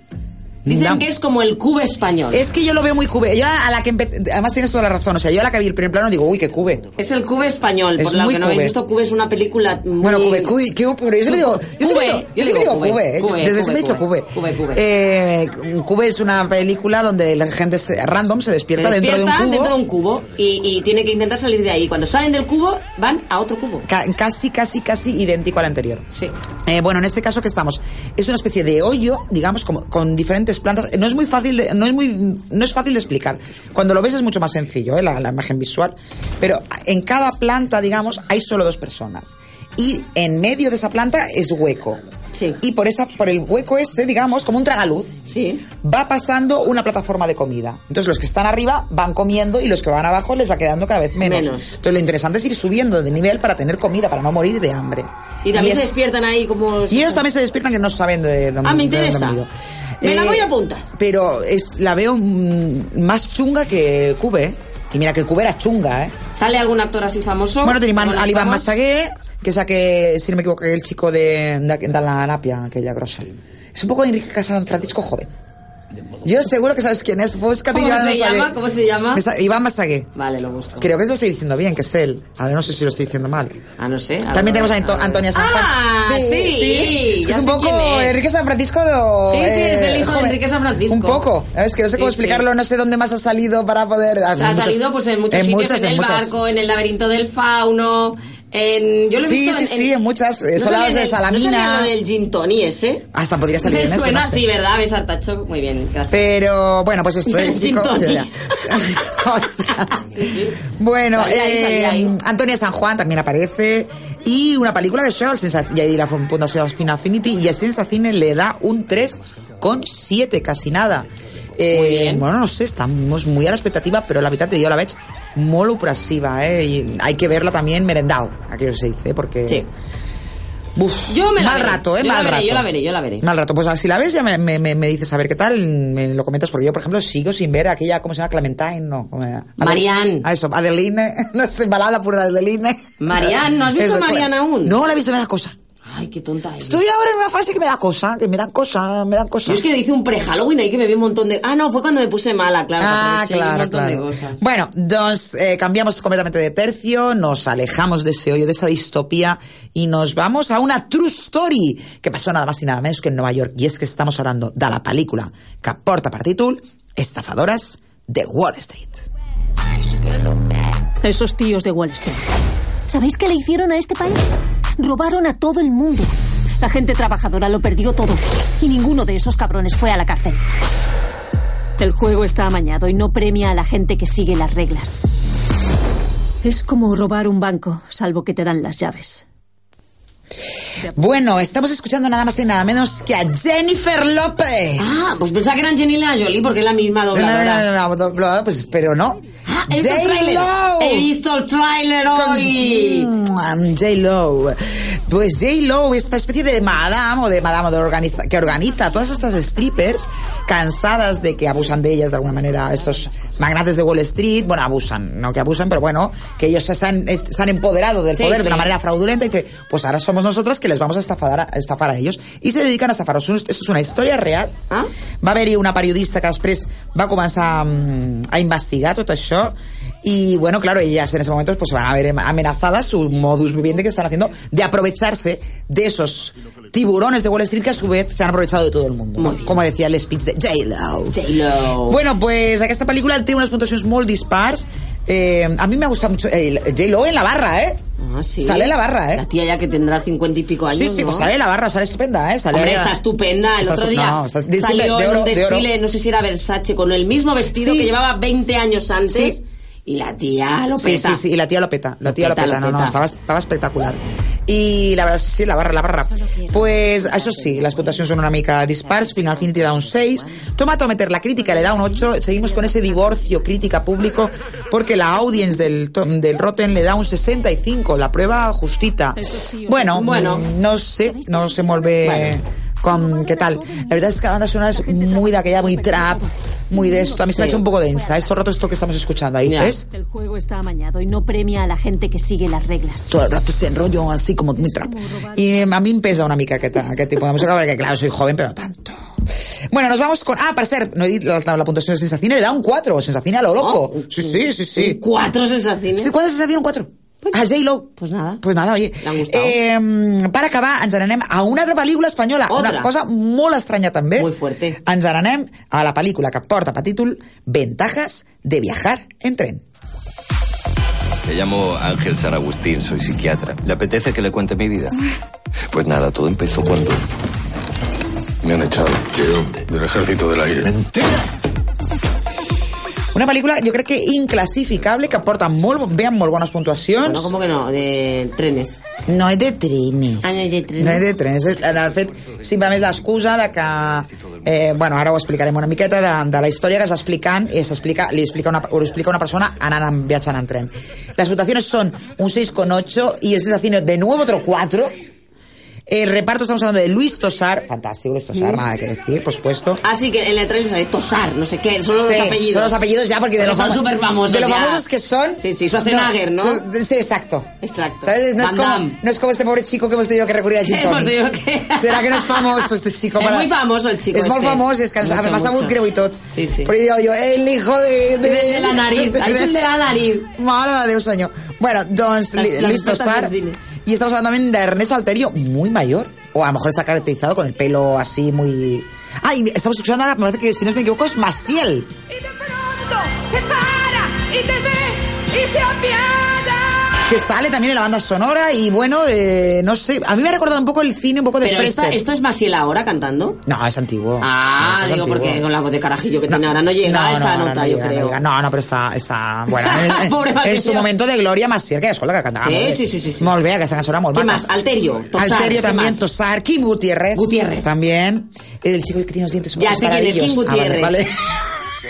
S5: Dicen
S3: Una-
S5: que es como el cube español. Es,
S3: Es que yo lo veo muy cube. Yo a la que empe- Además tienes toda la razón. O sea, yo a la que vi el primer plano digo, uy, qué cube.
S5: el cube español.
S3: Es
S5: por lo
S3: muy
S5: que no habéis
S3: cube.
S5: visto, cube es una película muy...
S3: Bueno, cube, cube, cube, pero yo siempre digo, yo siempre
S5: Cube,
S3: digo, yo siempre digo cube, eh.
S5: cube,
S3: desde
S5: cube,
S3: siempre he dicho cube.
S5: cube, cube.
S3: Eh, cube es una película donde la gente se- random se
S5: Se
S3: despierta,
S5: despiertan
S3: dentro de un cubo.
S5: cubo y, y tiene que intentar salir de ahí. Cuando salen del cubo, van a otro cubo.
S3: Ca- casi, casi, casi idéntico al anterior.
S5: Sí.
S3: Eh, bueno, en este caso que estamos, es una especie de hoyo, digamos, como, con diferentes plantas. No es muy fácil, de- no es muy, no es fácil de explicar. Cuando lo ves es mucho más sencillo, eh, la, la imagen visual. Pero en cada planta, digamos, hay solo dos personas. Y en medio de esa planta es hueco.
S5: Sí.
S3: Y por esa, por el hueco ese, digamos, como un tragaluz.
S5: Sí.
S3: Va pasando una plataforma de comida. Entonces los que están arriba van comiendo y los que van abajo les va quedando cada vez menos.
S5: Menos.
S3: Entonces lo interesante es ir subiendo de nivel para tener comida, para no morir de hambre.
S5: Y también
S3: es-
S5: se despiertan ahí como...
S3: y ellos también se despiertan que no saben de dónde
S5: Ah, me
S3: de dónde
S5: interesa.
S3: han venido. Eh,
S5: Me la voy a apuntar.
S3: Pero es, la veo mm, más chunga que Cube. ¿eh? Y mira que Cube era chunga, ¿eh?
S5: ¿Sale algún actor así famoso?
S3: Bueno, tenim
S5: Con el
S3: l'Ivan
S5: famoso-
S3: Massaguer, que és aquell, si no m'equivoco, el chico de, de, de la napia, aquella grossa. Es un poco Enrique Casan Francisco joven. Yo seguro que sabes quién es. Búscate
S5: ¿Cómo
S3: yo
S5: se
S3: no
S5: llama?
S3: sabe.
S5: ¿Cómo se llama?
S3: Me sa- Iván Massaguer.
S5: Vale, lo busco.
S3: Creo que lo estoy diciendo bien, que es él. Ahora no sé si lo estoy diciendo mal.
S5: Ah, no sé. ahora-
S3: También tenemos a Anto-
S5: ahora-
S3: Antonia Sanfran.
S5: Ah, sí, sí.
S3: Es que
S5: ya
S3: es un
S5: sé
S3: poco
S5: quién es.
S3: Enrique San Francisco. de- eh,
S5: Sí, sí, es el hijo de
S3: joven.
S5: Enrique San Francisco.
S3: Un poco. Es que no sé cómo
S5: Sí, sí.
S3: explicarlo, no sé dónde más ha salido para poder.
S5: O sea, ha
S3: muchas-
S5: salido pues en muchos sitios,
S3: muchas,
S5: en, el
S3: muchas.
S5: barco, en el laberinto del fauno, en... Yo lo he
S3: Sí,
S5: visto
S3: sí,
S5: en,
S3: sí, en muchas, eh,
S5: salía
S3: saladas de
S5: en el-
S3: salamina.
S5: ¿No salía lo del gin toni ese?
S3: Hasta podría salir
S5: Me
S3: en ese,
S5: suena
S3: no sé.
S5: así, ¿verdad? Besar tacho. Muy bien, gracias.
S3: Pero bueno, pues esto
S5: Del
S3: es chico.
S5: Gin Tonic.
S3: ya, ya. Ostras. Bueno,
S5: Salía ahí,
S3: eh,
S5: salía ahí.
S3: Antonia San Juan también aparece. Y una película de Show, ya di la Fundación Film Affinity, y a Sensacine le da un 3,7, casi nada. Eh,
S5: Muy bien.
S3: Bueno, no sé, estamos muy a la expectativa, però la veritat, jo la veig molt opressiva, eh? I hay que verla también merendao, aquello se dice, porque...
S5: Sí.
S3: Uf,
S5: Yo me la
S3: mal
S5: veré.
S3: rato, ¿eh?
S5: Yo la
S3: mal
S5: veré,
S3: rato.
S5: yo la veré, yo la veré.
S3: Mal rato. Pues si la ves, ya me, me, me- me dices a ver qué tal, me lo comentas, porque yo, por ejemplo, sigo sin ver aquella, ¿cómo se llama? Clementine, no. ¿cómo era? Adel-
S5: Marianne.
S3: Ah, eso, Adeline. No sé, balada por Adeline.
S5: Marianne, ¿no has visto
S3: Eso,
S5: Marianne
S3: claro.
S5: aún?
S3: No, la he visto, me da cosa.
S5: Ay, qué tonta es.
S3: Estoy ahora en una fase que me da cosa, que me dan cosa, me dan
S5: Yo
S3: cosas.
S5: es que hice un pre-Halloween ahí que me vi un montón de... Ah, no, fue cuando me puse mala, claro.
S3: Ah,
S5: aproveché y pues un
S3: claro,
S5: montón de
S3: claro.
S5: cosas.
S3: Bueno, nos eh, cambiamos completamente de tercio, nos alejamos de ese hoyo, de esa distopía y nos vamos a una true story que pasó nada más y nada menos que en Nueva York. Y es que estamos hablando de la película que porta per títol Estafadoras de Wall Street.
S10: Esos tíos de Wall Street. ¿Sabéis qué le hicieron a este país? Robaron a todo el mundo. La gente trabajadora lo perdió todo. Y ninguno de esos cabrones fue a la cárcel. El juego está amañado y no premia a la gente que sigue las reglas. Es como robar un banco, salvo que te dan las llaves.
S3: Bueno, estamos escuchando nada más y nada menos que a Jennifer López.
S5: Ah, pues pensaba que eran Jenila Jolie porque es la misma dobladora.
S3: No, no, no, no, no, Pues pero no.
S5: Ah, he visto el tráiler.
S3: J.Lo.
S5: He visto el tráiler hoy.
S3: J-Lo. Pues J-Lo, esta especie de madame o de madame o de organiza- que organiza a todas estas strippers cansadas de que abusan de ellas de alguna manera estos magnates de Wall Street. Bueno, abusan, no que abusan, pero bueno, que ellos se han, eh, se han empoderado del
S5: Sí,
S3: poder
S5: sí.
S3: de una manera fraudulenta y dice, pues ahora somos nosotros que les vamos a estafar a, a estafar a ellos. Y se dedican a estafaros. Esto es una historia real.
S5: Ah.
S3: Va haver-hi una periodista que després va començar mm, a investigar tot això y bueno, claro, ellas en ese momento pues se van a ver amenazadas su modus vivendi que están haciendo de aprovecharse de esos tiburones de Wall Street que a su vez se han aprovechado de todo el mundo. ¿no? Como decía el speech de J-Lo.
S5: J-Lo.
S3: Bueno, pues aquesta pel·lícula té unes puntuacions molt dispars. Eh, a mi m'ha gustat mucho eh, J-Lo en la barra, ¿eh?
S5: Ah, sí.
S3: Sale en la barra, ¿eh?
S5: La tía ya que tendrá cincuenta y pico años.
S3: Sí, sí,
S5: ¿no?
S3: pues sale en la barra, sale estupenda, ¿eh? Sale
S5: Hombre, está estupenda. El
S3: Está
S5: otro
S3: estu-
S5: día
S3: no, está- de-
S5: salió
S3: de
S5: en
S3: oro,
S5: un
S3: de oro.
S5: desfile, no sé si era Versace, con el mismo vestido
S3: Sí.
S5: que llevaba 20 años antes.
S3: Sí.
S5: Y la tía lo
S3: Sí,
S5: peta.
S3: sí, sí, y la tía lo peta, la
S5: Lo
S3: tía lo
S5: peta,
S3: peta,
S5: lo
S3: no, no,
S5: peta.
S3: estava, estava espectacular. I la verdad, sí, la barra, la barra. Pues, això sí, les puntuacions són una mica dispars, Final Finity da un 6, Tomato Meter, la crítica le da un 8, seguimos con ese divorcio crítica público, porque la audience del, to- del Rotten le da un 65, la prueba justita. Bueno,
S5: Bueno.
S3: no sé, no se molt bé... con qué tal. La verdad es que la banda sonora es muy de aquella, muy trap, muy de esto. A mí se me ha hecho un poco densa. Esto roto, esto que estamos escuchando ahí, ¿ves?
S10: El juego está amañado y no premia a la gente que sigue las reglas.
S3: Todo el rato este enrollo así como muy trap. Y eh, a mí em pesa una mica aquest, aquest tipus de música, perquè claro, soy joven, però tanto. Bueno, nos vamos con... Ah, per cert, no he dit la, la puntuació de Sensacine, le da un 4, Sensacine a lo loco.
S5: Ah,
S3: sí, sí, sí, sí.
S5: Cuatro sensaciones.
S3: Sí, ¿Cuántas sensaciones? Un 4. A J-Lo.
S5: Pues nada.
S3: Pues nada, oye.
S5: L'han gustat.
S3: Eh, per acabar, ens n'anem a una altra pel·lícula espanyola.
S5: Otra.
S3: Una cosa molt estranya també.
S5: Muy fuerte.
S3: Ens n'anem a la pel·lícula que porta per títol Ventajas de viajar en tren.
S11: Me llamo Ángel San Agustín, soy psiquiatra. ¿Le apetece que le cuente mi vida? Pues nada, todo empezó cuando... Me han echado. ¿De dónde? Del ejército del aire.
S3: Una pel·lícula, jo crec que inclassificable, que porta molt, vean molt bones puntuacions.
S5: No, ¿cómo que no? De trenes.
S3: No és de trenes.
S5: Ah, no és de trenes.
S3: No és de trenes. És- De fet, simplement és l'excusa de que... Eh, bueno, ara ho explicarem una miqueta de, de la història que es va explicant i s'explica, li explica una, ho explica una persona anant en, viatjant en tren. Les votacions són un 6,8 y el sensación de nuevo otro 4. El reparto estamos hablando de Luis Tosar, fantástico Luis Tosar,
S5: Mm.
S3: nada que decir, por supuesto.
S5: Así Ah, que en el trailer sale Tosar, no sé qué, solo
S3: Sí,
S5: los apellidos.
S3: Son los apellidos ya, porque de los
S5: son
S3: famo-
S5: súper famosos.
S3: De los famosos que son.
S5: Sí, sí, Schwarzenegger, ¿no?
S3: son- Sí, exacto.
S5: Exacto.
S3: ¿Sabes? No es,
S5: Van
S3: como,
S5: Damme.
S3: no es como este pobre chico que hemos tenido que recurrir a Jim
S5: Hemos
S3: Tonic.
S5: tenido que-
S3: ¿Será que no es famoso este chico?
S5: Es muy famoso el chico
S3: Es muy
S5: este.
S3: famoso, es que
S5: Mucho,
S3: además ha
S5: mucho.
S3: muy creo y todo.
S5: Sí, sí.
S3: Pero digo yo, el hijo de...
S5: Del de la nariz, ha dicho el de la nariz.
S3: Mala de un sueño. Bueno, doncs,
S5: Las-
S3: li-
S5: las
S3: listo,
S5: respuestas
S3: Sar.
S5: del cine.
S3: Y estamos hablando también de Ernesto Alterio, muy mayor. O a lo mejor está caracterizado con el pelo así muy... Ah, y estamos escuchando ahora, me parece que si no me equivoco es Maciel.
S4: Se para y te ve y se apiada.
S3: que sale también en la banda sonora y bueno, eh, no sé, a mí me ha recordado un poco el cine, un poco de
S5: Pero esta-
S3: Freser.
S5: esto es Masiel ahora cantando.
S3: este. No, es antiguo.
S5: Ah,
S3: No, es
S5: digo,
S3: antiguo.
S5: porque con la voz de carajillo que tiene ahora no llega
S3: No,
S5: a esta
S3: no, ahora
S5: nota,
S3: no
S5: yo
S3: llega, no
S5: creo. Ah,
S3: llega. No, no, però està, està bueno,
S5: Pobre
S3: en, en, en su
S5: Maciel.
S3: momento de gloria Maciel, que és la que cantava
S5: Sí,
S3: molt bé.
S5: sí, sí, sí, sí.
S3: Molt bé, aquesta cançó era molt
S5: ¿Qué
S3: maca.
S5: más? Alterio, Tosar.
S3: Alterio
S5: ¿qué
S3: también,
S5: más?
S3: Tosar, Kim Gutiérrez.
S5: Gutiérrez.
S3: También. El chico que tiene los dientes
S5: Ya sé quién es, Kim
S3: maravillosos. Ah, vale,
S5: Gutiérrez.
S3: vale.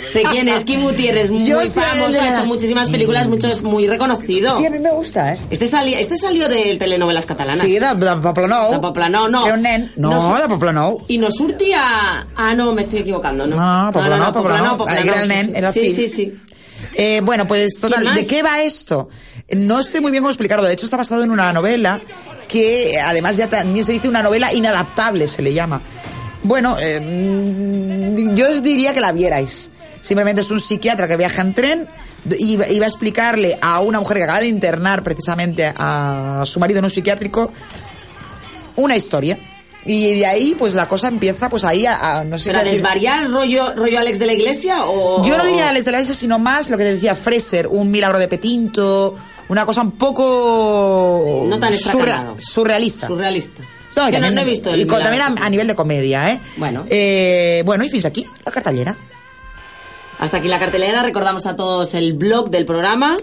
S5: Sé quién es, Kim Gutiérrez, muy
S3: Yo sé de
S5: famoso,
S3: la-
S5: ha hecho muchísimas películas, muchos muy reconocido.
S3: Sí, a mí me gusta, ¿eh?
S5: Este, sali- este salió de telenovelas catalanas.
S3: Sí, de, de Poblenou.
S5: De Poblenou, no.
S3: Era un nen. No,
S5: No sé.
S3: de Poblenou.
S5: Y nos surtía... Ah, no, me estoy equivocando, ¿no?
S3: No, no, no, Poblenou, Poblenou. Ahí era el
S5: sí,
S3: nen,
S5: sí.
S3: era
S5: sí,
S3: Phil.
S5: sí, sí.
S3: Eh, bueno, pues total,
S5: más?
S3: ¿de qué va esto? No sé muy bien cómo explicarlo. De hecho, está basado en una novela que eh, además ya también se dice una novela inadaptable, se le llama. Bueno, eh, mm, yo os diría que la vierais. Simplemente es un psiquiatra que viaja en tren y va y va a explicarle a una mujer que acaba de internar precisamente a su marido en un psiquiátrico una historia. Y de ahí, pues la cosa empieza, pues ahí a, a- no sé si
S5: ¿Pero a
S3: decir-
S5: desvariar rollo, rollo Alex de la Iglesia o...?
S3: yo no
S5: o-
S3: diría les de la Iglesia, sino más lo que decía Fraser, un milagro de Petinto, una cosa un poco
S5: No tan extracargado.
S3: surrealista.
S5: Surrealista.
S3: No,
S5: que
S3: y también-
S5: no, no he visto el
S3: y con- también
S5: milagro.
S3: a, a nivel de comedia, ¿eh?
S5: Bueno.
S3: Eh, bueno, y fins aquí, la cartallera.
S5: Hasta aquí la cartelera, recordamos a todos el blog del programa.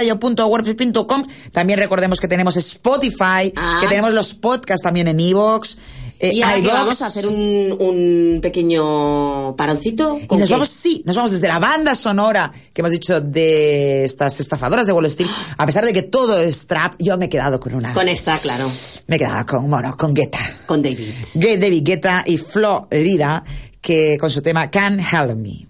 S3: heladoscuroradio.wordpress.com También recordemos que tenemos Spotify,
S5: Ah.
S3: que tenemos los podcasts también en eh, Evox.
S5: y ahora que vamos a hacer un, un pequeño paroncito.
S3: Y
S5: ¿con
S3: nos
S5: qué?
S3: vamos, sí, nos vamos desde la banda sonora que hemos dicho de estas estafadoras de Wall Street. A pesar de que todo es trap, yo me he quedado con una.
S5: Con esta, claro.
S3: Me he quedado con, bueno, con Guetta.
S5: Con David.
S3: Gay David Guetta y Florida, que con su tema Can't Help Me.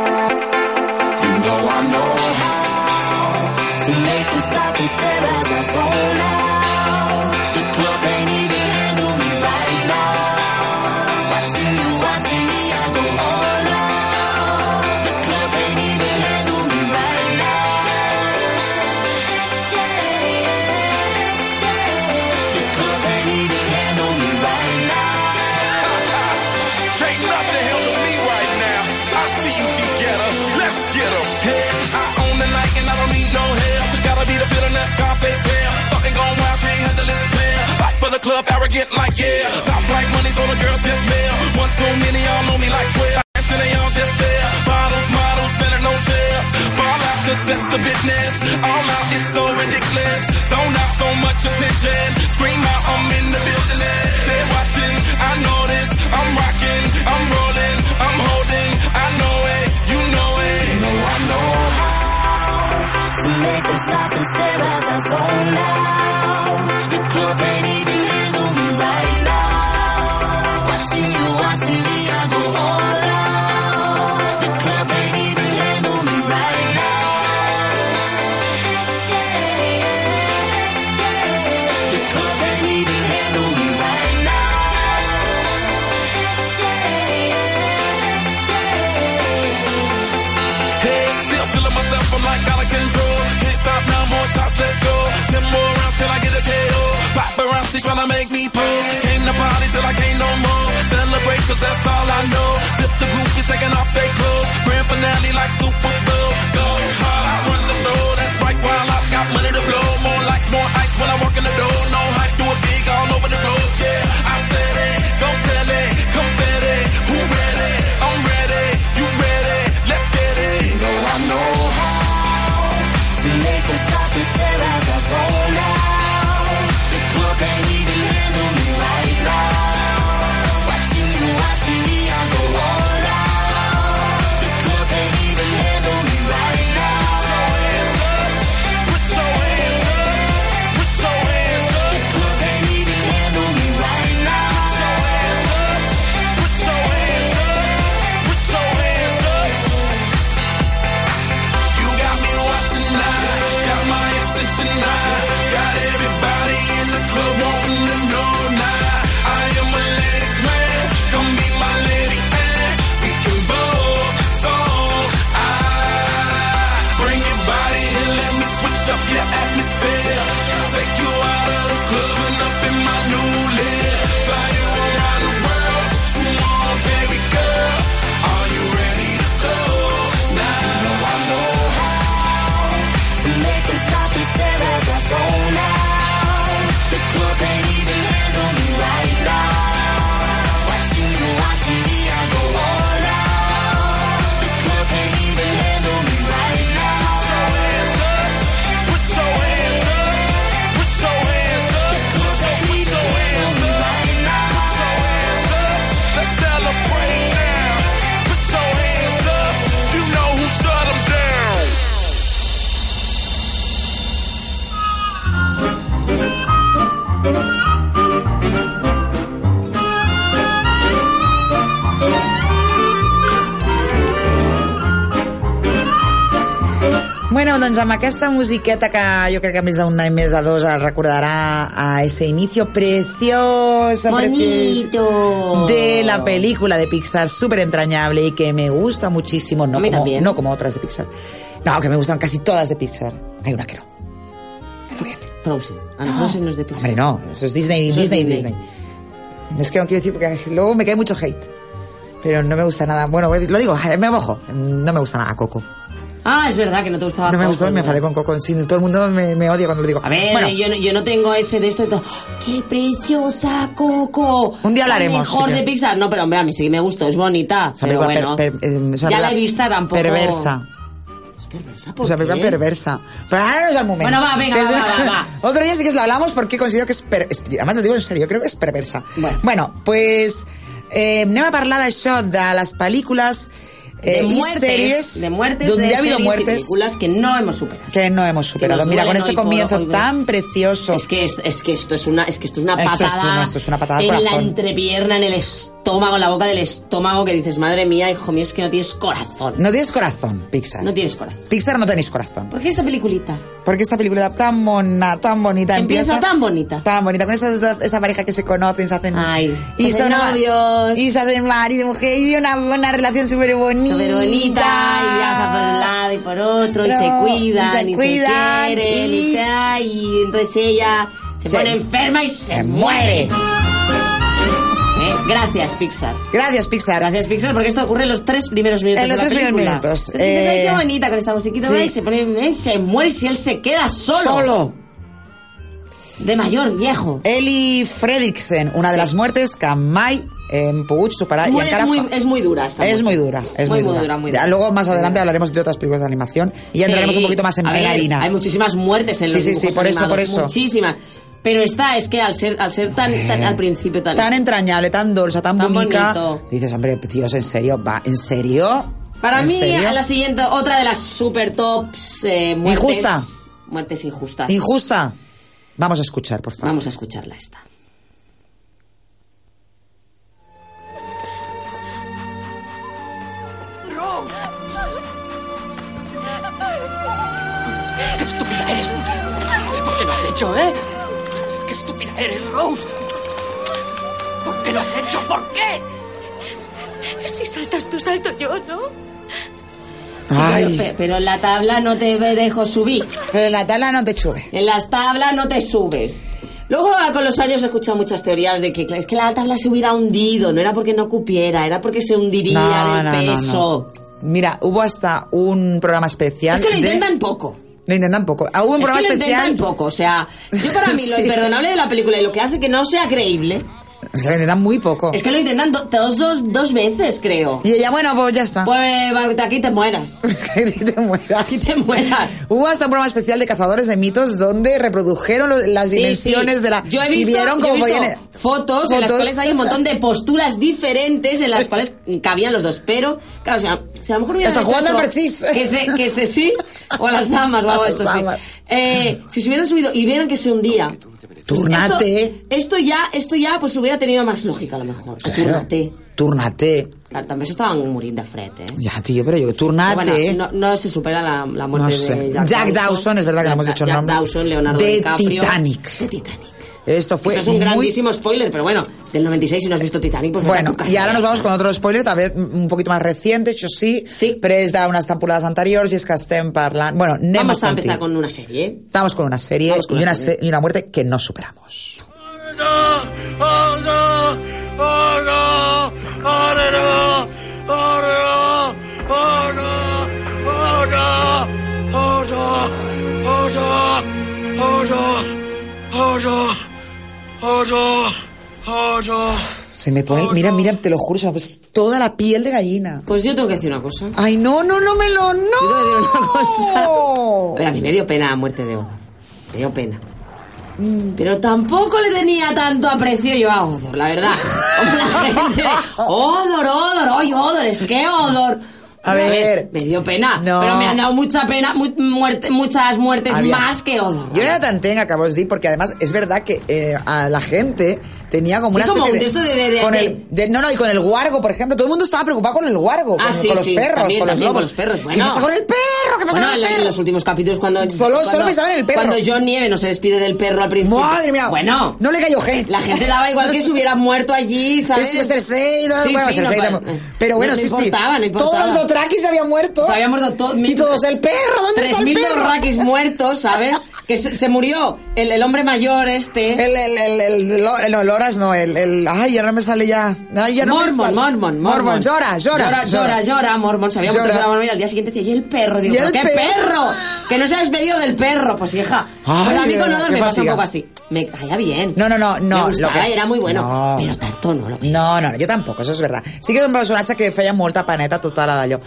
S4: You know I know how to make them stop and stare as I fall out. The club can't even handle me right now. Watching you, watching me, I go all out. The club can't even handle me right now. The club can't even handle me right now. Can't nothing handle me right now. I see you can get 'em. Let's get 'em. Yeah, I own the night and I don't need no help. Gotta be the villain that's Scarface pal. Starting going wild, can't handle this pill. Fight for the club, arrogant like yeah. Top like money, so the girls just mail. One too many, y'all know me like 12. And they all just there. Bottles, models, better no sales. Ball out,
S12: just bless the business. All out is so ridiculous. Zone out so much attention. Scream out, I'm in the building. They're watching, I know this. I'm rocking, I'm rolling, I'm holding. I know it, you know it. You know I know how to make them stop and stare as I zone out. The club ain't even handle me right now. Watching you, watching me, I go all out. The club ain't even handle me right now. The club ain't even handle me right now. Hey, still feeling myself, I'm like out of control. Can't stop now, more shots, let's go. Ten more rounds till I get a KO. Paparazzi tryna make me pose. Came to party till I can't no more. Celebrate 'cause that's all I know. Tip the group is taking off their clothes. Grand finale like Super Bowl. Go hard, I run the show. That's right, while I've got money to blow. More lights, more ice when I walk in the door. No hype, do it big all over the globe. Yeah, I said it. Don't tell it. Confed it. Who ready? I'm ready. You ready? Let's get it. You know I know how to make them stop and stare as I roll out. The club ain't even handle me right now. Watching you, watching me, I go all out. The club can't even handle me right now. Put your hands up, put your hands up. The club can't even handle me right now. Put your hands up, put your hands up, put your hands up. You got me watching now, got my attention now, got everybody in the club wanting to know now. I am a ladies man, come be my lady and we can both song. I bring your body and let me switch up your atmosphere. Take you out of the club and up in my new lair. Fly you around the world, true on baby girl. Are you ready to go now? You know I know how to make them stop and stare as I zone out. The club can't even handle me right now. Watching you, watching me, I go all out. The club can't even handle me right now. Put your hands up, put your hands up, put your hands up. The club can't even handle me right now. Put your hands up, let's celebrate now. Put your hands up, you know who shut 'em down.
S3: Bueno, doncs amb aquesta musiqueta que jo crec que més d'un any més de dos es recordarà a ese inicio precioso,
S5: Bonito.
S3: precioso de la película de Pixar súper entrañable y que me gusta muchísimo, no,
S5: A mí
S3: como,
S5: también.
S3: no como otras de Pixar. No, que me gustan casi todas de Pixar. Hay una que no.
S5: Frozen. Ah, no, Frozen no es de Pixar.
S3: Hombre, no, eso es Disney,
S5: Eso es
S3: Disney,
S5: Disney.
S3: Disney. Es que no quiero decir porque luego me cae mucho hate. Pero no me gusta nada. Bueno, lo digo, me mojo. No me gusta nada Coco.
S5: Ah, es verdad que no te gustaba.
S3: No me
S5: Frozen,
S3: gustó, me
S5: ¿verdad?
S3: enfadé con Coco. Sí, todo el mundo me, me odia cuando lo digo.
S5: A ver,
S3: bueno,
S5: yo, no- yo no tengo ese de esto y todo. ¡Qué preciosa Coco!
S3: Un día
S5: La
S3: hablaremos,
S5: Mejor
S3: sí que-
S5: de Pixar. No, pero hombre, a mí sí que me gustó, es bonita.
S3: es una
S5: Pero
S3: película
S5: bueno.
S3: per- per- eh, es una
S5: ya la
S3: película
S5: he vista tampoco.
S3: Perversa.
S5: ¿Por
S3: es una película
S5: qué?
S3: perversa. Pero ahora no es el momento.
S5: Bueno, va, venga,
S3: Es
S5: va,
S3: una-
S5: va, va,
S3: Otro día sí que lo hablamos porque considero que es, per- es- Además lo digo en serio, yo creo que es perversa. Bueno, pues... Eh, anem a parlar d'això, de las películas
S5: De
S3: eh, y
S5: muertes,
S3: series
S5: de muertes,
S3: donde
S5: de
S3: ha habido
S5: series y
S3: muertes
S5: películas que no hemos superado.
S3: que no hemos superado.
S5: nos
S3: Mira, con
S5: duelen
S3: este
S5: hoy por
S3: comienzo
S5: hoy, por-
S3: tan precioso.
S5: Es que, es, es que esto es una, es que esto es una
S3: Esto es
S5: patada.
S3: una- esto es una patada al
S5: En la
S3: corazón.
S5: entrepierna, en el estómago, en la boca del estómago, que dices, madre mía, hijo mío, es que no tienes corazón.
S3: No tienes corazón, Pixar.
S5: No tienes corazón.
S3: Pixar no tenéis corazón.
S5: ¿Por qué esta peliculita?
S3: Porque esta película tan mona, tan bonita
S5: Empieza
S3: empieza,
S5: tan bonita.
S3: tan bonita con esa, esa pareja que se conocen, se hacen
S5: Ay,
S3: y
S5: se
S3: son
S5: hacen
S3: ama-
S5: novios.
S3: y se hacen marido y mujer y una, una relación súper bonita,
S5: Súper bonita, y viaja por un lado y por otro, y
S3: Pero-
S5: se
S3: y
S5: cuidan, y
S3: se
S5: se,
S3: cuidan,
S5: quieren,
S3: y-
S5: y, se- ay, y entonces ella se,
S3: Se-
S5: pone enferma y se, muere. Eh, Gracias, Pixar.
S3: Gracias Pixar.
S5: Gracias, Pixar, porque esto ocurre en los tres primeros minutos
S3: En los
S5: de la
S3: tres primeros
S5: película.
S3: minutos.
S5: Entonces dices, ay,
S3: Eh,
S5: qué bonita con esta musiquita,
S3: sí.
S5: ay, se pone, ay, se muere si él se queda solo.
S3: Solo.
S5: De mayor, viejo.
S3: Ellie Fredriksen, una de las muertes que mai en Puig, Superar Ah, y
S5: Muy-
S3: Encara
S5: es, muy, es muy dura esta
S3: es
S5: moto.
S3: muy dura, es muy, dura.
S5: muy
S3: Ya,
S5: dura.
S3: Luego más adelante hablaremos de otras películas de animación y ya
S5: Sí.
S3: entraremos un poquito más en,
S5: A
S3: en
S5: ver,
S3: harina.
S5: Hay muchísimas muertes en
S3: Sí,
S5: los
S3: sí, sí,
S5: dibujos
S3: por eso,
S5: animados,
S3: por eso.
S5: Muchísimas. Pero esta es que al ser, al ser tan, tan- al principio tan...
S3: Tan entrañable, tan dulce, tan,
S5: Tan
S3: bonita.
S5: bonito.
S3: Dices, hombre, tíos, ¿en serio? ¿Va? ¿En serio?
S5: Para
S3: ¿En
S5: mí,
S3: serio?
S5: a la siguiente, otra de las super tops eh, muertes...
S3: Injusta.
S5: Muertes injustas.
S3: ¿Injusta? Vamos a escuchar, por favor.
S5: Vamos a escucharla esta.
S4: Rose. ¡Qué estúpida eres! ¿Por qué lo has hecho, eh? ¡Qué estúpida eres, Rose! ¿Por qué lo has hecho? ¿Por qué?
S13: Si saltas tú, salto yo, ¿no?
S5: Sí, pero,
S3: Ay.
S5: pe- pero en la tabla no te ve- dejo subir.
S3: Pero en la tabla no te sube.
S5: En las tablas no te sube. Luego, ah, con los años, he escuchado muchas teorías de que claro, es que la tabla se hubiera hundido. No era porque no cupiera, era porque se hundiría del peso.
S3: Mira, hubo hasta un programa especial.
S5: Es que lo
S3: de-
S5: intentan poco.
S3: Lo intentan poco. Ah, hubo un
S5: es
S3: programa
S5: que lo
S3: especial.
S5: intentan poco. O sea, yo para mí lo
S3: Sí.
S5: imperdonable de la película y lo que hace que no sea creíble
S3: Es que lo intentan muy poco.
S5: es que lo intentan do- dos, dos, dos veces, creo.
S3: Y ella, bueno, pues ya está.
S5: Pues va, de aquí te mueras.
S3: que te mueras.
S5: Aquí te mueras.
S3: Hubo hasta un programa especial de cazadores de mitos donde reprodujeron lo- las
S5: Sí,
S3: dimensiones
S5: sí.
S3: de la.
S5: Yo he visto,
S3: y vieron
S5: yo he
S3: cómo
S5: visto
S3: podían-
S5: fotos, en las
S3: fotos.
S5: cuales hay un montón de posturas diferentes en las cuales cabían los dos. Pero, claro, o sea, si a lo mejor hubieran
S3: Hasta
S5: hecho
S3: jugando
S5: eso,
S3: al parchís.
S5: Que se, que se sí, o a las damas o algo de
S3: A las
S5: esto sí.
S3: damas.
S5: Eh, si se hubieran subido y vieran que se hundía.
S3: Pues Turnate.
S5: Esto, esto ya, esto ya pues hubiera tenido más lógica a lo mejor. Que Turnate.
S3: Turnate.
S5: Claro, también se estaban muriendo de fred, ¿eh?
S3: Ya, tío, pero yo,
S5: Pero
S3: turnate.
S5: bueno, no, no se supera la, la muerte
S3: No sé.
S5: de
S3: Jack, Dawson, es verdad que no hemos dicho el
S5: Jack
S3: nombre.
S5: Dawson, Leonardo
S3: de
S5: DiCaprio.
S3: Titanic.
S5: De Titanic.
S3: Esto fue
S5: Esto es un
S3: muy-
S5: grandísimo spoiler, pero bueno, del 96 si no has visto Titanic, pues vete a
S3: Bueno,
S5: tu casa.
S3: y ahora nos vamos con otro spoiler, tal vez un poquito más reciente, això sí, sí. però és d'unes temporades anteriors i és que estem parlant... Bueno, anem
S5: Vamos a
S3: sentir.
S5: empezar con una serie.
S3: Estamos con una serie
S5: Vamos con
S3: y
S5: una
S3: una,
S5: serie.
S3: se- y una muerte que no superamos.
S4: ¡Oh, no! ¡Oh, no! ¡Oh, no! ¡Oh, no! ¡Oh, no! ¡Oh, no! ¡Oh, no! ¡Oh, no! ¡Oh, no! ¡Oh, no! ¡Oh, no! ¡Oh, no!
S3: Se me pone... mira, mira, te lo juro, se me ha puesto toda la piel de gallina.
S5: Pues yo tengo que decir una cosa.
S3: Ay, no, no, no me lo... ¡No!
S5: A ver, a mí me dio pena la muerte de Odor. Me dio pena. Pero tampoco le tenía tanto aprecio yo a Odor, la verdad. Como la gente. Odor, Odor, oye, Odor, es que Odor.
S3: A
S5: Una vez
S3: ver.
S5: Me dio pena.
S3: No.
S5: Pero me han dado mucha pena, mu- muerte- muchas muertes
S3: Había-
S5: más que Odor.
S3: Yo era tan tenga, acabo de decir, porque además es verdad que eh, a la gente tenía como
S5: Sí,
S3: una
S5: como
S3: especie
S5: un texto de- de- de-
S3: con
S5: de-
S3: el, de- No, no, y con el guargo, por ejemplo. Todo el mundo estaba preocupado con el guargo,
S5: Ah,
S3: con,
S5: sí,
S3: con los
S5: sí,
S3: perros,
S5: también,
S3: con los
S5: también,
S3: lobos.
S5: con los perros,
S3: ¿Qué
S5: bueno.
S3: pasa con el perro? ¿Qué pasa con
S5: Bueno, en
S3: el
S5: los, en
S3: perro?
S5: los últimos capítulos cuando
S3: Solo-
S5: cuando-
S3: solo pensaba en el perro.
S5: Cuando John Nieve no se despide del perro al principio.
S3: Madre mía.
S5: Bueno,
S3: No le cayó gente.
S5: la gente daba igual que se hubiera muerto allí, ¿sabes?
S3: Sí, sí, Cersei, no,
S5: Sí,
S3: bueno,
S5: sí,
S3: Cersei
S5: no,
S3: tampoco.
S5: bueno.
S3: Pero bueno,
S5: No- no
S3: sí, sí.
S5: importaba, no importaba.
S3: Todos los Dothrakis se habían muerto.
S5: Se habían muerto todos.
S3: Y todos, el perro, ¿dónde está el
S5: 3.000
S3: perro?
S5: dorraquis muertos, ¿sabes? Que se, se murió el, el hombre mayor este.
S3: El, el, el, el, el- no, el Loras no, el, el, ay, ya no me sale ya, ay, ya no me
S5: Mormon,
S3: sale.
S5: Mormon, Mormon,
S3: llora, llora,
S5: Llora, llora, llora, Mormon. Se había muerto
S3: Llora.
S5: llora. Mormon y al día siguiente decía, ¿y el perro? Digo,
S3: ¿Y
S5: ¿pero
S3: el
S5: qué
S3: perro?
S5: perro? Que no se ha despedido del perro. Pues hija,
S3: Ay,
S5: pues a mí
S3: de
S5: con
S3: verdad,
S5: Odor
S3: qué
S5: me pasa un
S3: fatiga.
S5: poco así. Me caía bien.
S3: No, no, no, no.
S5: Me gustava,
S3: lo que-
S5: era muy bueno.
S3: No.
S5: Però tanto no lo
S3: No, no, no, jo tampoc, això és veritat. Sí que és un personatge que feia molta paneta tota la d'allò.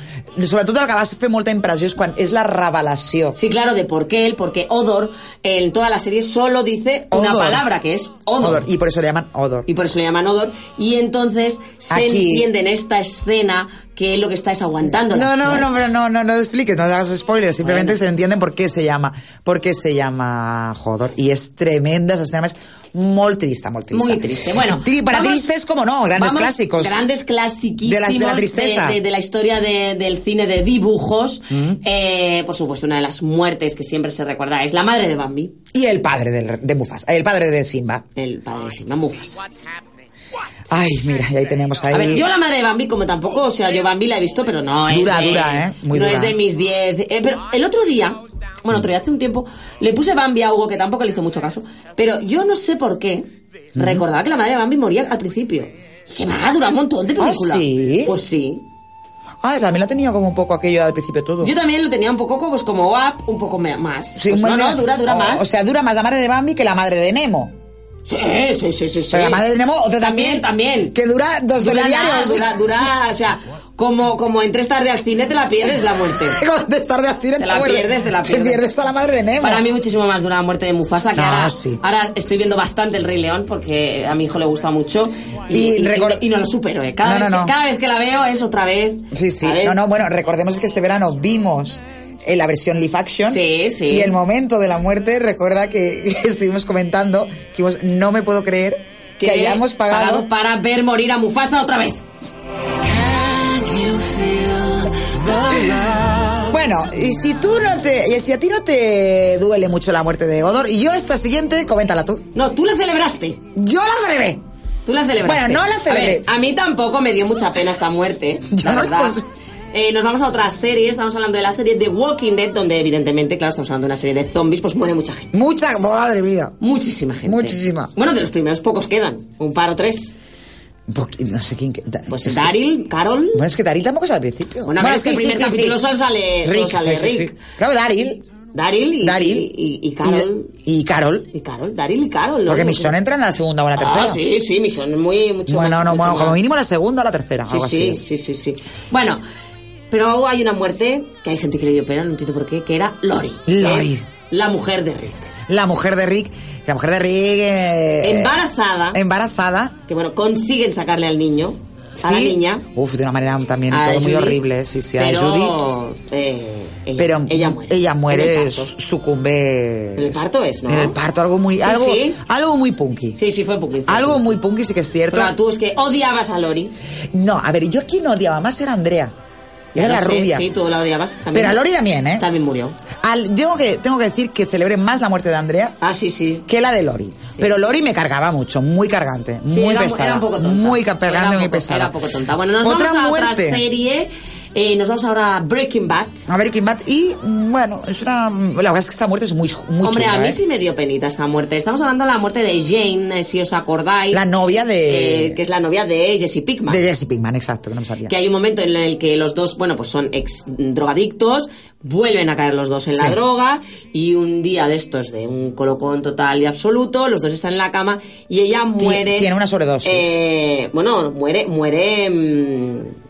S3: Sobretot el que va fer molta impressió és quan és la revelació.
S5: Sí, claro, de por qué él, porque Odor eh, en toda la serie solo dice una
S3: Odor.
S5: palabra que es Odor.
S3: Y por eso le llaman Odor.
S5: Y por eso le llaman Odor. Y entonces se
S3: Aquí.
S5: entiende en esta escena que él lo que está es aguantando.
S3: No,
S5: las
S3: no,
S5: muertes.
S3: no, pero no, no, no expliques, no hagas spoilers, simplemente se entiende por qué se llama, por qué se llama Jodor. Y es tremenda esa escena, és molt trista, molt trista.
S5: Muy triste. Bueno,
S3: Tri- para
S5: vamos-
S3: tristes, como no, grandes
S5: vamos-
S3: clásicos.
S5: Grandes clasiquísimos
S3: De la- de la tristeza.
S5: De, de- de la historia de- del cine de dibujos.
S3: Mm.
S5: Eh, por supuesto, una de las muertes que siempre se recuerda es la madre de Bambi.
S3: Y el padre del- de Mufasa, el padre de Simba.
S5: El padre de Simba, Mufasa.
S3: Ay, mira, y ahí tenemos ahí.
S5: A ver, yo la madre de Bambi, como tampoco, o sea, yo Bambi la he visto, pero no es.
S3: Dura,
S5: de-
S3: dura, ¿eh? Muy
S5: no
S3: dura.
S5: es de mis 10. eh, pero el otro día, bueno, otro día hace un tiempo, le puse Bambi a Hugo, que tampoco le hizo mucho caso, pero yo no sé por qué
S3: Ujú.
S5: recordaba que la madre de Bambi moría al principio. Y que va, dura un montón de
S3: Ah,
S5: película.
S3: ¿sí?
S5: Pues sí.
S3: Ah, también la tenía como un poco aquello al principio todo.
S5: Yo también lo tenía un poco pues como up, un poco me- más.
S3: Sí,
S5: Pues
S3: un
S5: no,
S3: buen- Oh,
S5: no, dura, dura
S3: o-
S5: más.
S3: O sea, dura más la madre de Bambi que la madre de Nemo.
S5: Sí, sí, sí, sí. sí.
S3: Pero además tenemos otro también.
S5: También,
S3: Que dura dos
S5: Dura nada,
S3: telediarios.
S5: dura, dura, o sea, como, como entres tarde al cine te la pierdes la muerte.
S3: Con de estar de accidente,
S5: Te la
S3: bueno,
S5: pierdes, te la
S3: pues, Te
S5: pierdes.
S3: pierdes a la madre de Nemo.
S5: Para mí muchísimo más dura la muerte de Mufasa, que
S3: No,
S5: ahora,
S3: Ah, sí.
S5: ahora estoy viendo bastante El Rey León, porque a mi hijo le gusta mucho, y,
S3: Y
S5: y-
S3: recor-
S5: y no lo supero, ¿eh? Cada,
S3: No, no, no.
S5: vez que- cada vez que la veo es otra vez...
S3: Sí, sí.
S5: ¿sabes?
S3: No, no, bueno, recordemos que este verano vimos eh, la versión live action
S5: Sí, sí.
S3: y el momento de la muerte recuerda que estuvimos comentando dijimos no me puedo creer que,
S5: Que
S3: hayamos pagado,
S5: para ver morir a Mufasa otra vez
S3: bueno y si tú no te y si a ti no te duele mucho la muerte de Godor y yo esta siguiente coméntala tú
S5: no tú la celebraste
S3: yo la celebré
S5: Tú la celebraste.
S3: Bueno, no la celebré.
S5: A, ver, a mí tampoco me dio mucha pena esta muerte, la verdad. Eh, nos vamos a otra serie, estamos hablando de la serie The Walking Dead, donde evidentemente, claro, estamos hablando de una serie de zombies, pues muere mucha gente.
S3: mucha madre mía
S5: muchísima gente
S3: muchísima
S5: Bueno, de los primeros pocos quedan, un par o tres.
S3: Un poqui- no sé quién pues
S5: Daryl Carol
S3: bueno es que Daryl tampoco es al principio
S5: Bueno, a ver, es que el primer capítulo solo sale- solo
S3: Rick,
S5: sale
S3: sí, sí,
S5: Rick.
S3: sí. claro Daryl
S5: Daryl y,
S3: Daryl.
S5: y, y- y Carol.
S3: y Carol
S5: Y Carol, Daryl y Carol, ¿no?
S3: porque
S5: No
S3: Michonne
S5: sé.
S3: entra en la segunda o en la tercera
S5: Ah, sí, sí, Michonne, muy, mucho
S3: bueno,
S5: más-
S3: no,
S5: mucho
S3: bueno,
S5: más.
S3: como mínimo la segunda o la tercera,
S5: Sí,
S3: algo
S5: sí,
S3: así.
S5: sí, sí, sí. Bueno, pero hay una muerte que hay gente que le dio pena, no entiendo por qué, que era Lori. que
S3: Lori.
S5: es la mujer de Rick.
S3: La mujer de Rick, la mujer de Rick... eh,
S5: Embarazada.
S3: Embarazada.
S5: Que bueno, consiguen sacarle al niño, a la
S3: sí.
S5: niña.
S3: Uf, de una manera también
S5: a
S3: todo muy
S5: Judith,
S3: horrible, sí, sí, a
S5: pero,
S3: Judith.
S5: eh, ella,
S3: Pero
S5: ella muere.
S3: ella
S5: En el
S3: muere,
S5: parto.
S3: sucumbe...
S5: En el parto es, ¿no?
S3: En el parto, algo muy,
S5: Sí,
S3: algo,
S5: sí.
S3: algo muy punky.
S5: Sí, sí, fue poquito.
S3: Algo muy punky, sí que es cierto.
S5: Pero tú es que odiabas a Lori.
S3: No, a ver, yo quien odiaba más era Andrea. Era
S5: Ya
S3: la
S5: sé,
S3: rubia.
S5: Sí, tú la odiabas. También
S3: Pero a Lori también, ¿eh?
S5: También murió.
S3: Al- tengo, que, tengo que decir que celebré más la muerte de Andrea
S5: Ah, sí, sí.
S3: que la de Lori. Pero Lori me cargaba mucho, muy cargante,
S5: Sí,
S3: muy
S5: era,
S3: pesada.
S5: era un poco tonta.
S3: Muy ca-
S5: Era
S3: cargante,
S5: un
S3: muy
S5: poco-
S3: pesada.
S5: Era un poco tonta. Bueno, nos
S3: Otra
S5: vamos a
S3: muerte.
S5: otra serie. Eh, nos vamos ahora a Breaking Bad.
S3: A ver, Kim Bat. Y mm, bueno, es una. La verdad es que esta muerte es muy, muy
S5: Hombre,
S3: chunga,
S5: a mí
S3: ¿eh?
S5: sí me dio penita esta muerte. Estamos hablando de la muerte de Jane, eh, si os acordáis.
S3: La novia de-
S5: eh, que es la novia de Jesse Pickman.
S3: De Jesse Pinkman, exacto, que no me sabía.
S5: que eh, hay un momento en el que los dos, bueno, pues son ex drogadictos, vuelven a caer los dos en la
S3: Sí.
S5: droga y un día de estos de un colocón total y absoluto, los dos están en la cama y ella
S3: Ti-
S5: muere.
S3: tiene una sobredosis.
S5: eh, bueno, muere, muere mm,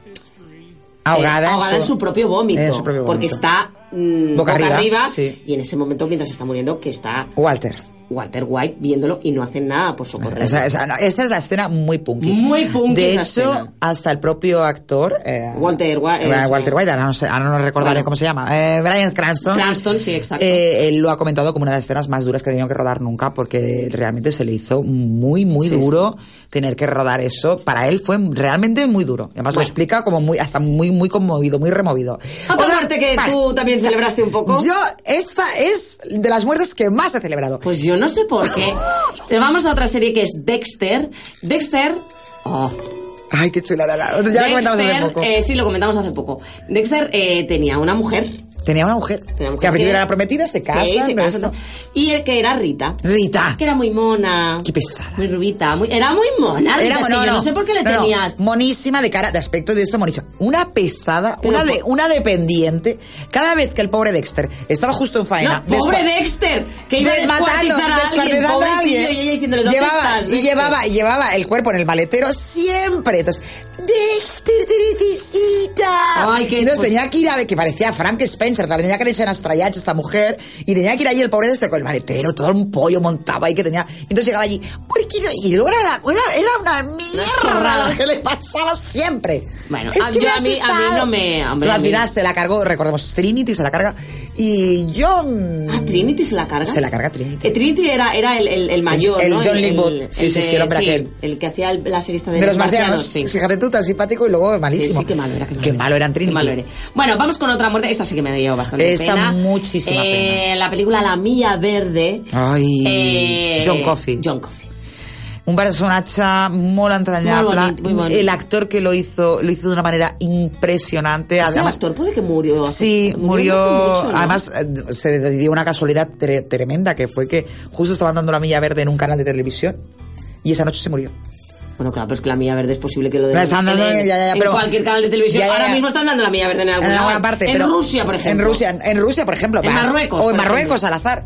S3: ahogada,
S5: eh, en, su, propio vómito,
S3: en su propio
S5: porque
S3: vómito.
S5: está mm,
S3: Boca
S5: boca,
S3: arriba,
S5: arriba,
S3: sí.
S5: y en ese momento mientras está muriendo que está
S3: Walter.
S5: Walter White viéndolo y no hacen nada por socorrerlo.
S3: Esa, esa- no, esa es la escena muy punky.
S5: Muy punky
S3: De
S5: esa
S3: hecho,
S5: escena.
S3: hasta el propio actor. eh,
S5: Walter White,
S3: eh,
S5: eh,
S3: Walter White, ahora no, sé- ahora no recordaré
S5: Bueno.
S3: cómo se llama. eh, Brian Cranston.
S5: Cranston, sí, exacto.
S3: Eh, él lo ha comentado como una de las escenas más duras que ha tenido que rodar nunca porque realmente se le hizo muy, muy
S5: Sí,
S3: duro tener que rodar eso. Para él fue realmente muy duro. Además lo
S5: Bueno.
S3: explica como muy, hasta muy, muy conmovido, muy removido.
S5: Otra
S3: Otra-
S5: muerte que
S3: vale.
S5: tú también celebraste un poco.
S3: Yo, esta es de las muertes que más he celebrado.
S5: Pues yo no sé por qué. Pero Vamos a otra serie que es Dexter. Dexter. Oh,
S3: Ay, qué chula. la- la- Ya la comentamos hace
S5: Dexter,
S3: poco.
S5: eh, sí, lo comentamos hace poco. Dexter eh, tenía una mujer.
S3: Tenía una mujer,
S5: una mujer
S3: que al principio
S5: que-
S3: era prometida, se casa.
S5: sí, se casa. Y el que era Rita.
S3: Rita.
S5: Que era muy mona.
S3: Qué pesada.
S5: Muy rubita. Muy, era muy mona. Rita, es que yo no, sé por qué le
S3: no, no,
S5: tenías.
S3: monísima de cara, de aspecto de esto monísima. Una pesada,
S5: Pero
S3: una,
S5: po-
S3: de, una dependiente. Cada vez que el pobre Dexter estaba justo en faena.
S5: No, pobre
S3: descua-
S5: Dexter, que iba a
S3: desmatando,
S5: descuartizar a alguien,
S3: descuartizando a
S5: pobrecillo,
S3: alguien.
S5: y ella diciéndole, ¿dónde
S3: llevaba,
S5: estás,
S3: Y
S5: Dexter?
S3: llevaba, llevaba el cuerpo en el maletero siempre. Entonces, Dexter te necesita.
S5: Ay, qué-
S3: Entonces
S5: pues-
S3: tenía que ir a ver, que parecía Frank Spencer, la tenía que echar a Strayach, esta mujer, y tenía que ir allí el pobre Dexter con el maletero, todo un pollo montaba ahí que tenía. Entonces llegaba allí, ¿por qué no? Y luego era, la- era, era una mierda
S5: chorrada.
S3: lo que le pasaba siempre.
S5: Bueno,
S3: Es
S5: a-
S3: que me
S5: yo
S3: ha
S5: a mí- a mí
S3: asustado.
S5: no me- hombre,
S3: Pero
S5: a
S3: al
S5: mí-
S3: final se la cargó, recordemos, Trinity se la carga, y yo... mm,
S5: Ah, Trinity se la carga.
S3: se la carga Trinity.
S5: Eh, Trinity era, era el, el, el mayor,
S3: El- el
S5: ¿no?
S3: John Lithgow. Sí, sí,
S5: de-
S3: sí, el hombre aquel.
S5: El que hacía el- la serista de,
S3: De, los marcianos.
S5: sí.
S3: Fíjate tú, tan simpático y luego malísimo.
S5: Sí, sí, qué malo era, qué malo
S3: Qué
S5: era.
S3: malo eran Trinity.
S5: Qué malo eres. Bueno, vamos con otra muerte. Esta sí que me dio bastante
S3: Esta
S5: pena.
S3: muchísima
S5: Eh, La película La Milla Verde.
S3: Ay,
S5: Eh,
S3: John Coffey.
S5: John Coffey.
S3: Un personaje molt entranyable.
S5: Molt bonic, muy bonic.
S3: El actor que lo hizo, lo hizo de una manera impresionante.
S5: Este
S3: Además,
S5: actor puede que murió. hace-
S3: Sí, murió.
S5: no hace mucho, ¿no?
S3: Además, eh, se dio una casualidad tre- tremenda que fue que justo estaban dando la milla verde en un canal de televisión y esa noche se murió.
S5: Bueno, claro, pero es que La Milla Verde es posible que lo den
S3: La están dando
S5: en,
S3: en- ya, ya, ya,
S5: en
S3: pero-
S5: cualquier canal de televisión.
S3: Ya, ya, ya.
S5: Ahora mismo están dando La Milla Verde en
S3: en
S5: algún lado.
S3: alguna parte.
S5: Ah, En
S3: pero-
S5: Rusia, por ejemplo.
S3: En Rusia, en Rusia, por ejemplo.
S5: En
S3: va-
S5: Marruecos,
S3: O en
S5: por
S3: Marruecos, al azar.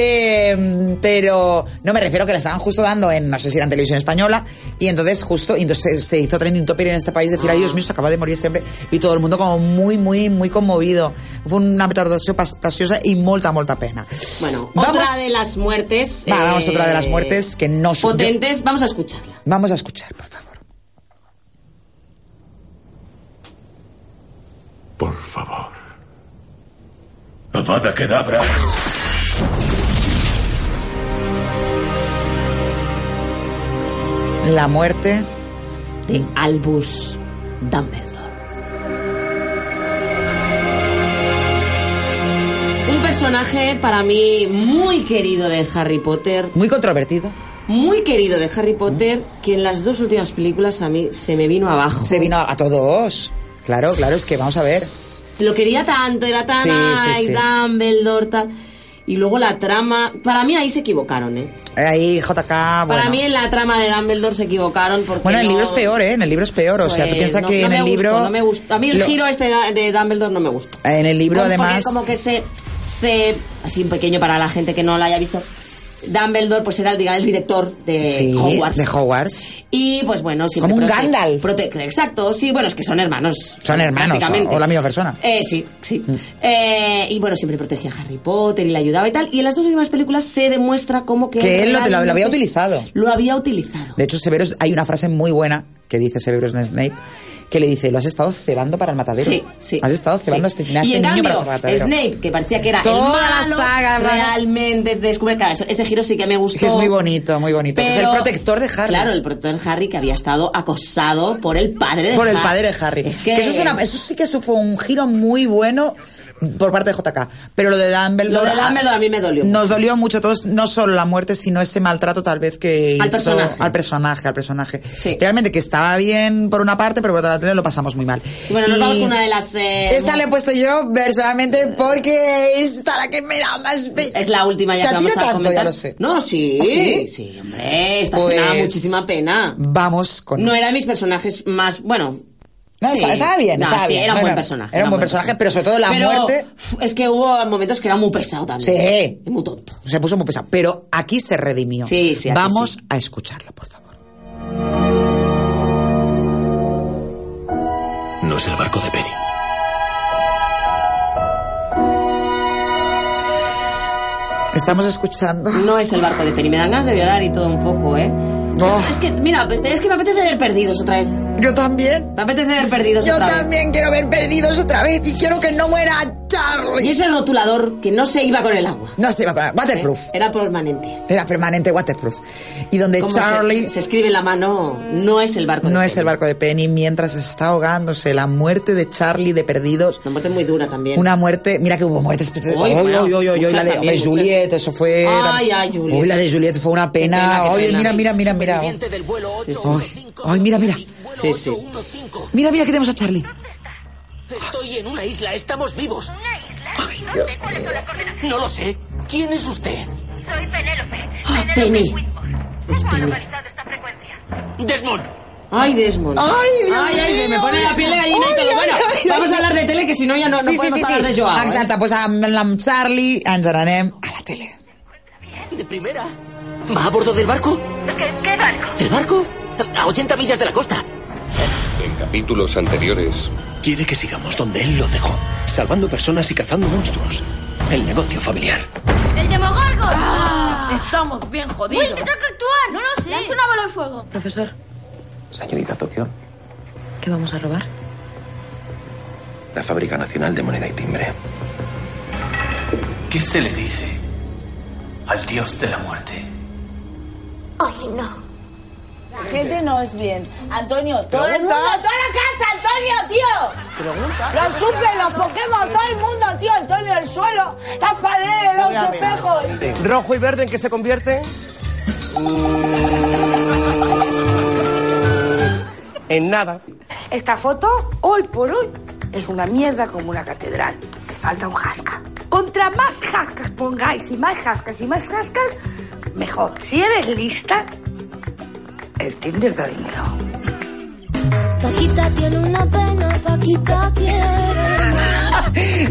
S3: Eh, pero no me refiero que la estaban justo dando en, no sé si era en televisión española, y entonces justo y entonces se, se hizo trending topic en este país, decir, ay Dios mío, se acaba de morir este hombre, y todo el mundo como muy, muy, muy conmovido. Fue una retardació pas- preciosa y molta, molta pena.
S5: Bueno,
S3: Vamos-
S5: otra de las muertes.
S3: Va, vamos
S5: eh,
S3: a otra de las muertes que no su-
S5: Potentes, vamos a escucharla.
S3: Vamos a escuchar, por favor.
S7: Por favor. Avada Kedavra.
S3: La muerte
S5: de
S3: Mm.
S5: Albus Dumbledore. Un personaje para mí muy querido de Harry Potter.
S3: Muy controvertido.
S5: Muy querido de Harry Potter, que en las dos últimas películas a mí se me vino abajo.
S3: Mm. Se vino a, a todos. Claro, claro, es que vamos a ver.
S5: Lo quería tanto, era tan
S3: Sí, sí,
S5: ay,
S3: sí.
S5: Dumbledore, tal. Y luego la trama. Para mí ahí se equivocaron, ¿eh?
S3: Ahí, JK, bueno.
S5: Para mí en la trama de Dumbledore se equivocaron porque.
S3: Bueno, en el
S5: no-
S3: libro es peor, ¿eh? En el libro es peor. O sea, tú
S5: Pues,
S3: piensas
S5: no-
S3: que
S5: no
S3: en
S5: me
S3: el
S5: gustó,
S3: libro.
S5: no me gustó. A mí el
S3: lo-
S5: giro este de- de Dumbledore no me gusta.
S3: En el libro,
S5: Como- porque
S3: además.
S5: como que se, se. Así un pequeño para la gente que no lo haya visto. Dumbledore, pues era digamos, el director de
S3: Sí,
S5: Hogwarts.
S3: de Hogwarts.
S5: Y pues bueno, siempre.
S3: Como un
S5: prote-
S3: Gandalf.
S5: prote- exacto, sí, bueno, es que son hermanos.
S3: Son hermanos, o,
S5: prácticamente.
S3: o la misma persona. Mm.
S5: Eh, sí, sí. Eh, y bueno, siempre protegía a Harry Potter y le ayudaba y tal. Y en las dos últimas películas se demuestra como que.
S3: Que él lo, lo- lo había
S5: realmente
S3: utilizado.
S5: Lo había utilizado.
S3: De hecho, Severus, hay una frase muy buena que dice Severus Snape, que le dice, lo has estado cebando para el matadero.
S5: Sí, sí.
S3: Has estado cebando a este, a
S5: y
S3: este niño
S5: en cambio,
S3: para el matadero.
S5: Snape, que parecía que era
S3: Toda la
S5: el malo,
S3: saga, hermano.
S5: realmente descubre que ese, ese giro sí que me
S3: Es
S5: gustó.
S3: que es muy bonito, muy bonito. es el
S5: Pero-
S3: protector de Harry.
S5: Claro, el protector de Harry que había estado acosado por el padre de
S3: por el
S5: Har-
S3: padre de Harry.
S5: Es que,
S3: eso, es una- eso sí que eso fue un giro muy bueno por parte de JK. Pero lo de
S5: lo
S3: Dumbledore... ah,
S5: de Dumbledore a mí me dolió.
S3: Nos dolió mucho a todos, no solo la muerte, sino ese maltrato tal vez que...
S5: Al
S3: hizo-
S5: personaje.
S3: Al personaje, al personaje. Realmente que estaba bien por una parte, pero por otra parte lo pasamos muy mal.
S5: Bueno, nos
S3: Y
S5: vamos con una de las... eh,
S3: Esta le he puesto yo personalmente porque es la que me da más...
S5: Es la última ya
S3: Te
S5: que vamos
S3: atiro
S5: a
S3: tanto,
S5: comentar.
S3: ya lo sé.
S5: No, sí.
S3: ¿Ah, sí?
S5: Sí, hombre, esta
S3: Pues-
S5: escena da muchísima pena.
S3: Vamos con...
S5: No era de mis personajes más... Bueno...
S3: No,
S5: sí.
S3: estaba, estaba bien,
S5: No,
S3: estaba
S5: sí,
S3: bien.
S5: era un
S3: Bueno,
S5: buen personaje.
S3: Era un buen personaje, pero sobre todo la
S5: Pero,
S3: muerte...
S5: uf, Es que hubo momentos que era muy pesado también.
S3: Sí.
S5: Muy tonto.
S3: Se puso muy pesado. Pero aquí se redimió.
S5: Sí, sí, aquí
S3: Vamos
S5: sí.
S3: a escucharlo, por favor.
S14: No es el barco de Penny.
S3: Estamos escuchando.
S5: No es el barco de Penny. Me dan ganas de violar y todo un poco, ¿eh?
S3: Oh.
S5: Es que, mira, es que me apetece ver perdidos otra vez.
S3: Yo también.
S5: Me apetece ver perdidos
S3: Yo
S5: otra vez.
S3: también quiero ver perdidos otra vez y quiero que no muera Charlie.
S5: Y ese rotulador que no se iba con el agua.
S3: No se iba con waterproof.
S5: ¿Eh? Era permanente.
S3: Era permanente waterproof. Y donde
S5: Como eh. se-
S3: Charlie
S5: Se, se escribe en la mano, no es el barco de
S3: no es el barco de Penny mientras está ahogándose. La muerte de Charlie de perdidos.
S5: Una muerte muy dura también.
S3: Una muerte, mira que hubo muertes. Uy,
S5: Uy, bueno,
S3: uy, uy, uy,
S5: muchas
S3: la de
S5: también,
S3: hombre,
S5: muchas.
S3: Juliet, eso fue.
S5: Ay, ay, Juliet.
S3: Uy, la de Juliet fue una pena.
S5: pena, qué
S3: Oye,
S5: pena.
S3: mira, mira, mira, mira. Ay, ay, mira, mira.
S5: Sí, sí.
S3: Mira, mira que tenemos a Charlie.
S15: Estoy en una isla, estamos vivos. ¿Una isla?
S3: no Dios sé
S15: cuáles son las coordenadas. No lo sé. ¿Quién es usted? Soy Penélope.
S5: Ah, Penny. Es Penny.
S15: Desmond.
S5: Ay, Desmond.
S15: Ay, Dios
S5: ay, ay, se me
S15: mío.
S5: pone la piel de gallina y
S15: Ay,
S5: todo.
S15: ay,
S5: Bueno,
S15: ay,
S5: vamos
S15: ay.
S5: a hablar de tele que si no ya no, no
S3: Sí, sí,
S5: podemos
S3: sí, sí.
S5: hablar de Joao. ¿eh?
S3: Exacte, pues amb la Charlie ens n'anem a la tele.
S15: De primera. ¿Va a bordo del barco? ¿Qué barco? ¿El barco? A 80 millas de la costa.
S9: En capítulos anteriores.
S14: Quiere que sigamos donde él lo dejó, salvando personas y cazando monstruos. El negocio familiar.
S16: ¡El Demogorgon!
S17: Ah.
S16: Estamos bien jodidos.
S17: Will, te toca
S16: actuar! No lo sé. Lanza una bola de fuego.
S17: Profesor,
S14: Señorita Tokio,
S17: ¿qué vamos a robar?
S14: la Fábrica Nacional de Moneda y Timbre.
S18: ¿Qué se le dice al dios de la muerte?
S16: Ay, no. La gente no es bien. Antonio, todo
S19: el mundo, toda
S16: la casa, Antonio, tío. Los suples, los Pokémon, todo el mundo, tío. Antonio, el suelo, las paredes,
S19: Muy
S16: los
S19: arriba.
S16: espejos.
S19: Rojo y verde en que se convierte. Mm. En nada.
S16: Esta foto, hoy por hoy, es una mierda como una catedral. Te falta un jasca. Contra más jascas pongáis y más jascas y más jascas, mejor. Si eres lista, el Tinder da dinero.
S20: Paquita tiene una pena, Paquita quiere.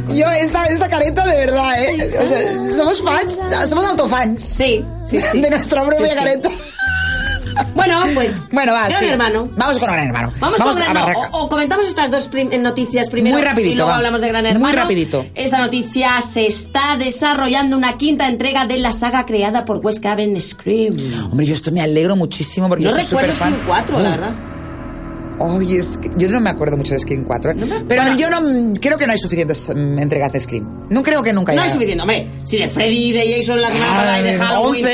S3: Yo, esta, esta careta de verdad, ¿eh? O sea, somos fans, ah, somos autofans.
S5: Sí, sí, sí.
S3: De nuestra propia
S5: Sí, sí.
S3: careta.
S5: Bueno, pues.
S3: Bueno, va,
S5: Gran
S3: sí.
S5: hermano.
S3: Vamos con Gran Hermano.
S5: Vamos, con
S3: a
S5: Gran Hermano.
S3: Barraca.
S5: O, o comentamos estas dos prim- eh, noticias primero.
S3: Muy rapidito,
S5: Y luego
S3: va.
S5: hablamos de Gran
S3: Muy
S5: Hermano.
S3: rapidito.
S5: Esta noticia se está desarrollando una quinta entrega de la saga creada por Wes Craven Scream.
S3: Hombre, yo esto me alegro muchísimo porque
S5: No
S3: yo soy
S5: recuerdo
S3: superfan.
S5: Scream 4, la verdad.
S3: Ay, es que yo no me acuerdo mucho de Scream 4, ¿eh? Pero yo no creo que no hay suficientes mm, entregas de Scream. No creo que nunca haya.
S5: No es suficiente, hombre. Si de Freddy y de Jason la semana
S3: Ah,
S5: pasada y de
S3: de
S5: Halloween.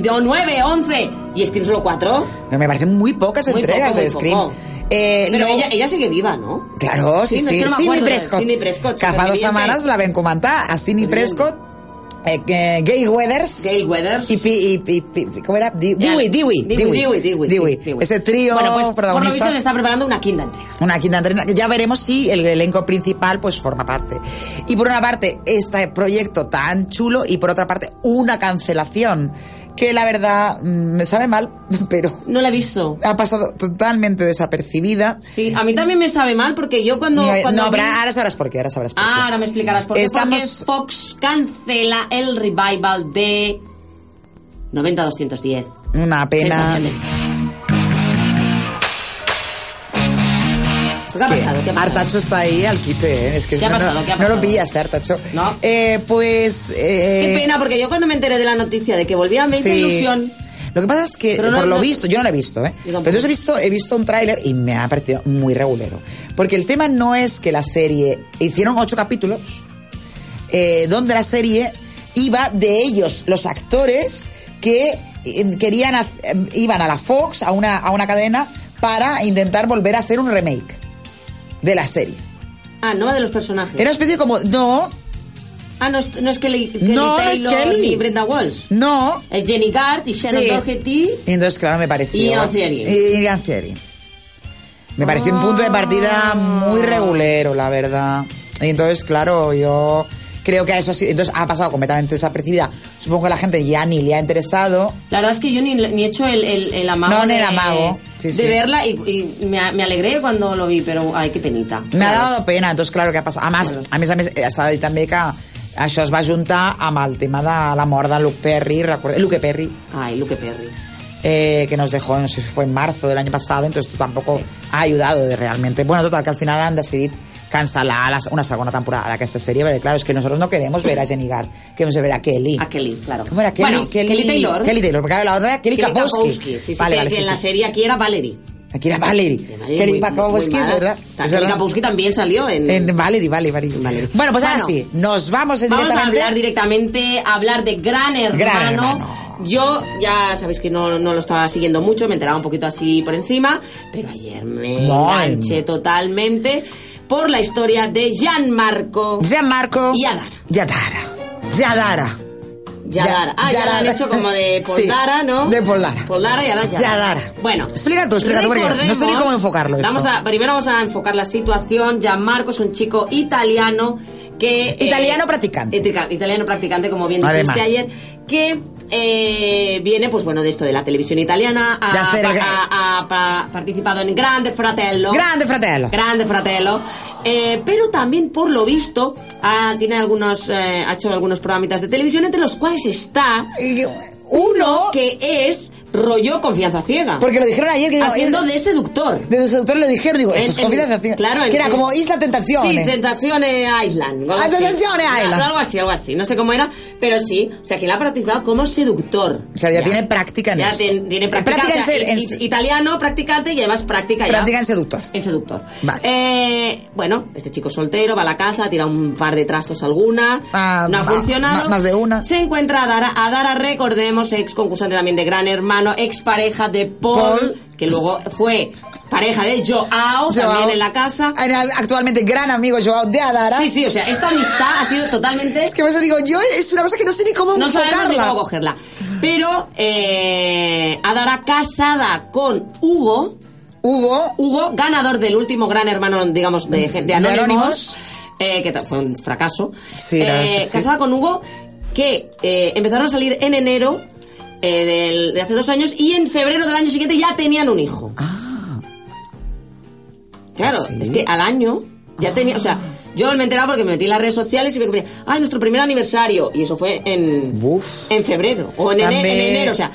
S5: 11. O 9, 11. Y Scream solo 4.
S3: Me parecen muy pocas
S5: Muy
S3: entregas
S5: poco,
S3: de
S5: muy
S3: Scream.
S5: poco.
S3: Eh,
S5: Pero
S3: luego-
S5: ella, ella sigue viva, ¿no?
S3: Claro, sí, sí.
S5: no, es que no me
S3: Sidney
S5: acuerdo de
S3: Prescott.
S5: Sidney Prescott.
S3: Cazá dos
S5: superviviente.
S3: semanas la ven comentar a Sidney Prescott. Eh, que- Gail Weathers. Gail
S5: Weathers.
S3: Y, Pi- y Pi- Pi- ¿Cómo era? Di-
S5: Ya,
S3: Dewey, Dewey.
S5: Dewey, Dewey, Dewey, sí, Dewey.
S3: Ese trío
S5: Bueno, pues por lo
S3: protagonista.
S5: visto le está preparando una quinta entrega.
S3: Una quinta entrega. que Ya veremos si el elenco principal pues forma parte. Y por una parte, este proyecto tan chulo y por otra parte, una cancelación. Que la verdad mm, me sabe mal, pero.
S5: No la he visto.
S3: Ha pasado totalmente desapercibida.
S5: Sí, a mí también me sabe mal porque yo cuando.
S3: no,
S5: cuando
S3: no,
S5: vi-
S3: pero ahora sabrás por qué, ahora sabrás por qué.
S5: Ah, ahora me explicarás por qué. Porque
S3: Estamos-
S5: Fox cancela el revival de 90-210.
S3: Una pena.
S5: Sensación de-
S3: Es que Artacho está ahí al quite, ¿eh? Es que
S5: ¿Qué ha
S3: no, no-
S5: pasado? ¿Qué ha
S3: no
S5: pasado?
S3: lo pillas, Artacho. Eh, pues... eh,
S5: Qué pena, porque yo cuando me enteré de la noticia de que volvía a me hizo
S3: sí.
S5: ilusión.
S3: Lo que pasa es que,
S5: Pero no-
S3: por lo
S5: no-
S3: visto, yo no lo he visto, ¿eh? Pero entonces he visto, he visto un tráiler y me ha parecido muy regulero. Porque el tema no es que la serie... Hicieron ocho capítulos eh, donde la serie iba de ellos, los actores que eh, querían haz- eh, iban a la Fox, a una, a una cadena, para intentar volver a hacer un remake de la serie.
S5: Ah, no va de los personajes.
S3: Era una especie como... No,
S5: Ah, no es, no es Kelly, Kelly
S3: No, no es
S5: Taylor
S3: Kelly.
S5: ni Brenda Walsh.
S3: No.
S5: Es Jenny Gart y Sharon
S3: Sí.
S5: Doherty.
S3: Y entonces, claro, me pareció.
S5: Y Ancieri.
S3: Y Ancieri. Me pareció un punto de partida muy regulero, la verdad. Y entonces, claro, yo creo que a eso sí. Entonces ha pasado completamente desapercibida. Supongo que la gente ya ni le ha interesado.
S5: La verdad es que yo ni, ni he hecho el, el, el amago.
S3: No, ni el
S5: de-
S3: amago. Sí,
S5: de
S3: sí.
S5: verla y, y me, a- me alegré cuando lo vi, pero ay, qué penita.
S3: Me ha dado pena, entonces, claro, que ha passat. A més, a més, a més eh, s'ha de dir també que això es va juntar amb el tema de la mort de Luke Perry, recorde, Luke Perry.
S5: Ay, Luke Perry.
S3: Eh, que nos dejó, no sé si fue en marzo del año pasado, entonces esto tampoco ha ayudado de realmente. Bueno, total, que al final han decidido cancelar la- una segona temporada d'aquesta sèrie, perquè claro, es que nosotros no queremos ver a Jenny Gart, queremos ver a Kelly. A
S5: Kelly, claro.
S3: ¿Cómo era Kelly?
S5: Bueno, Kelly Taylor.
S3: Kelly Taylor, porque la otra era Kelly,
S5: Kelly
S3: Kapowski.
S5: Kapowski, Sí, sí, que- que en la serie aquí era Valerie.
S3: Aquí era Valerie.
S5: Valerie
S3: Kelly
S5: muy-
S3: Kapowski,
S5: muy
S3: es
S5: mala.
S3: verdad.
S5: Ta-
S3: Es
S5: Kelly
S3: verdad.
S5: Kapowski también salió en...
S3: En Valerie, Valerie, Valerie. Bueno, pues ahora
S5: Bueno.
S3: sí, nos vamos en
S5: Vamos a
S3: directamente.
S5: hablar directamente, a hablar de Gran Hermano.
S3: Gran
S5: Yo ya sabéis que no, no lo estaba siguiendo mucho, me enteraba un poquito así por encima, pero ayer me
S3: Madre
S5: enganché totalmente por la historia de Gianmarco.
S3: Gianmarco.
S5: Yadara.
S3: Yadara. Yadara.
S5: Yadara. Ah, ya, la han hecho como de
S3: Sí,
S5: Poldara, ¿no?
S3: De Poldara.
S5: Poldara y ahora Yadara.
S3: Yadara.
S5: Bueno,
S3: Explica tú, explica tú, porque no sé ni cómo enfocarlo esto.
S5: Vamos a, primero vamos a enfocar la situación. Gianmarco es un chico italiano que...
S3: Italiano practicante.
S5: itica- Italiano practicante, como bien dijiste
S3: Además.
S5: ayer, que eh, viene, pues bueno, de esto de la televisión italiana. Ha,
S3: De hacer el-
S5: ha- ha pa- participado en Grande Fratello.
S3: Grande Fratello.
S5: Grande Fratello. Eh, pero también, por lo visto, ha, tiene algunos, eh, ha hecho algunos programitas de televisión, entre los cuales está uno que es rollo confianza ciega.
S3: Porque lo dijeron ayer que digo,
S5: Haciendo
S3: es-
S5: de seductor.
S3: De seductor lo dijeron, digo, esto
S5: En-
S3: es
S5: en-
S3: confianza ciega.
S5: claro, en-
S3: que era como Isla
S5: Sí,
S3: Tentaciones.
S5: Tentaciones Island. algo
S3: Ah,
S5: así.
S3: Tentaciones
S5: Claro,
S3: Island.
S5: Algo así, algo así. No sé cómo era, pero sí. O sea, que la ha practicado como seductor.
S3: o sea, ya, tiene práctica en
S5: Ya
S3: eso.
S5: tiene, tiene
S3: Eh,
S5: práctica. o sea,
S3: en ser- en
S5: i-
S3: ser-
S5: italiano, practicante y además práctica ya.
S3: práctica en seductor.
S5: En seductor. Eh, bueno, este chico es soltero, va a la casa, tira un par de trastos alguna. no ha
S3: Ah, va,
S5: funcionado.
S3: ma- más de una.
S5: Se encuentra a Dara. A Dara, recordemos, ex concursante también de Gran Hermano, ex pareja de Paul,
S3: Paul.
S5: que luego fue pareja de Joao,
S3: Joao.
S5: también en la casa.
S3: Era el actualmente gran amigo Joao de Adara.
S5: Sí, sí, o sea, esta amistad ha sido totalmente...
S3: Es que por eso digo, yo es una cosa que no sé ni cómo
S5: No sabemos ni
S3: enfocarla.
S5: cómo cogerla. Pero eh, Adara casada con Hugo.
S3: Hugo.
S5: Hugo, ganador del último gran hermano, digamos, de, gen- de Anónimos.
S3: Mm, Anónimos.
S5: eh, que ta- fue un fracaso. Eh,
S3: Sí, la verdad es que sí.
S5: Casada con Hugo, que eh, empezaron a salir en enero eh,
S3: Ah.
S5: del- de hace dos años y en febrero del año siguiente ya tenían un hijo. Claro,
S4: ¿Sí?
S5: es que al año ya tenía, o sea, yo me enteraba porque me metí en las redes sociales y me ponía, ay, nuestro primer aniversario. Y eso fue en, en febrero o en, ene-
S3: También.
S5: en enero, o sea.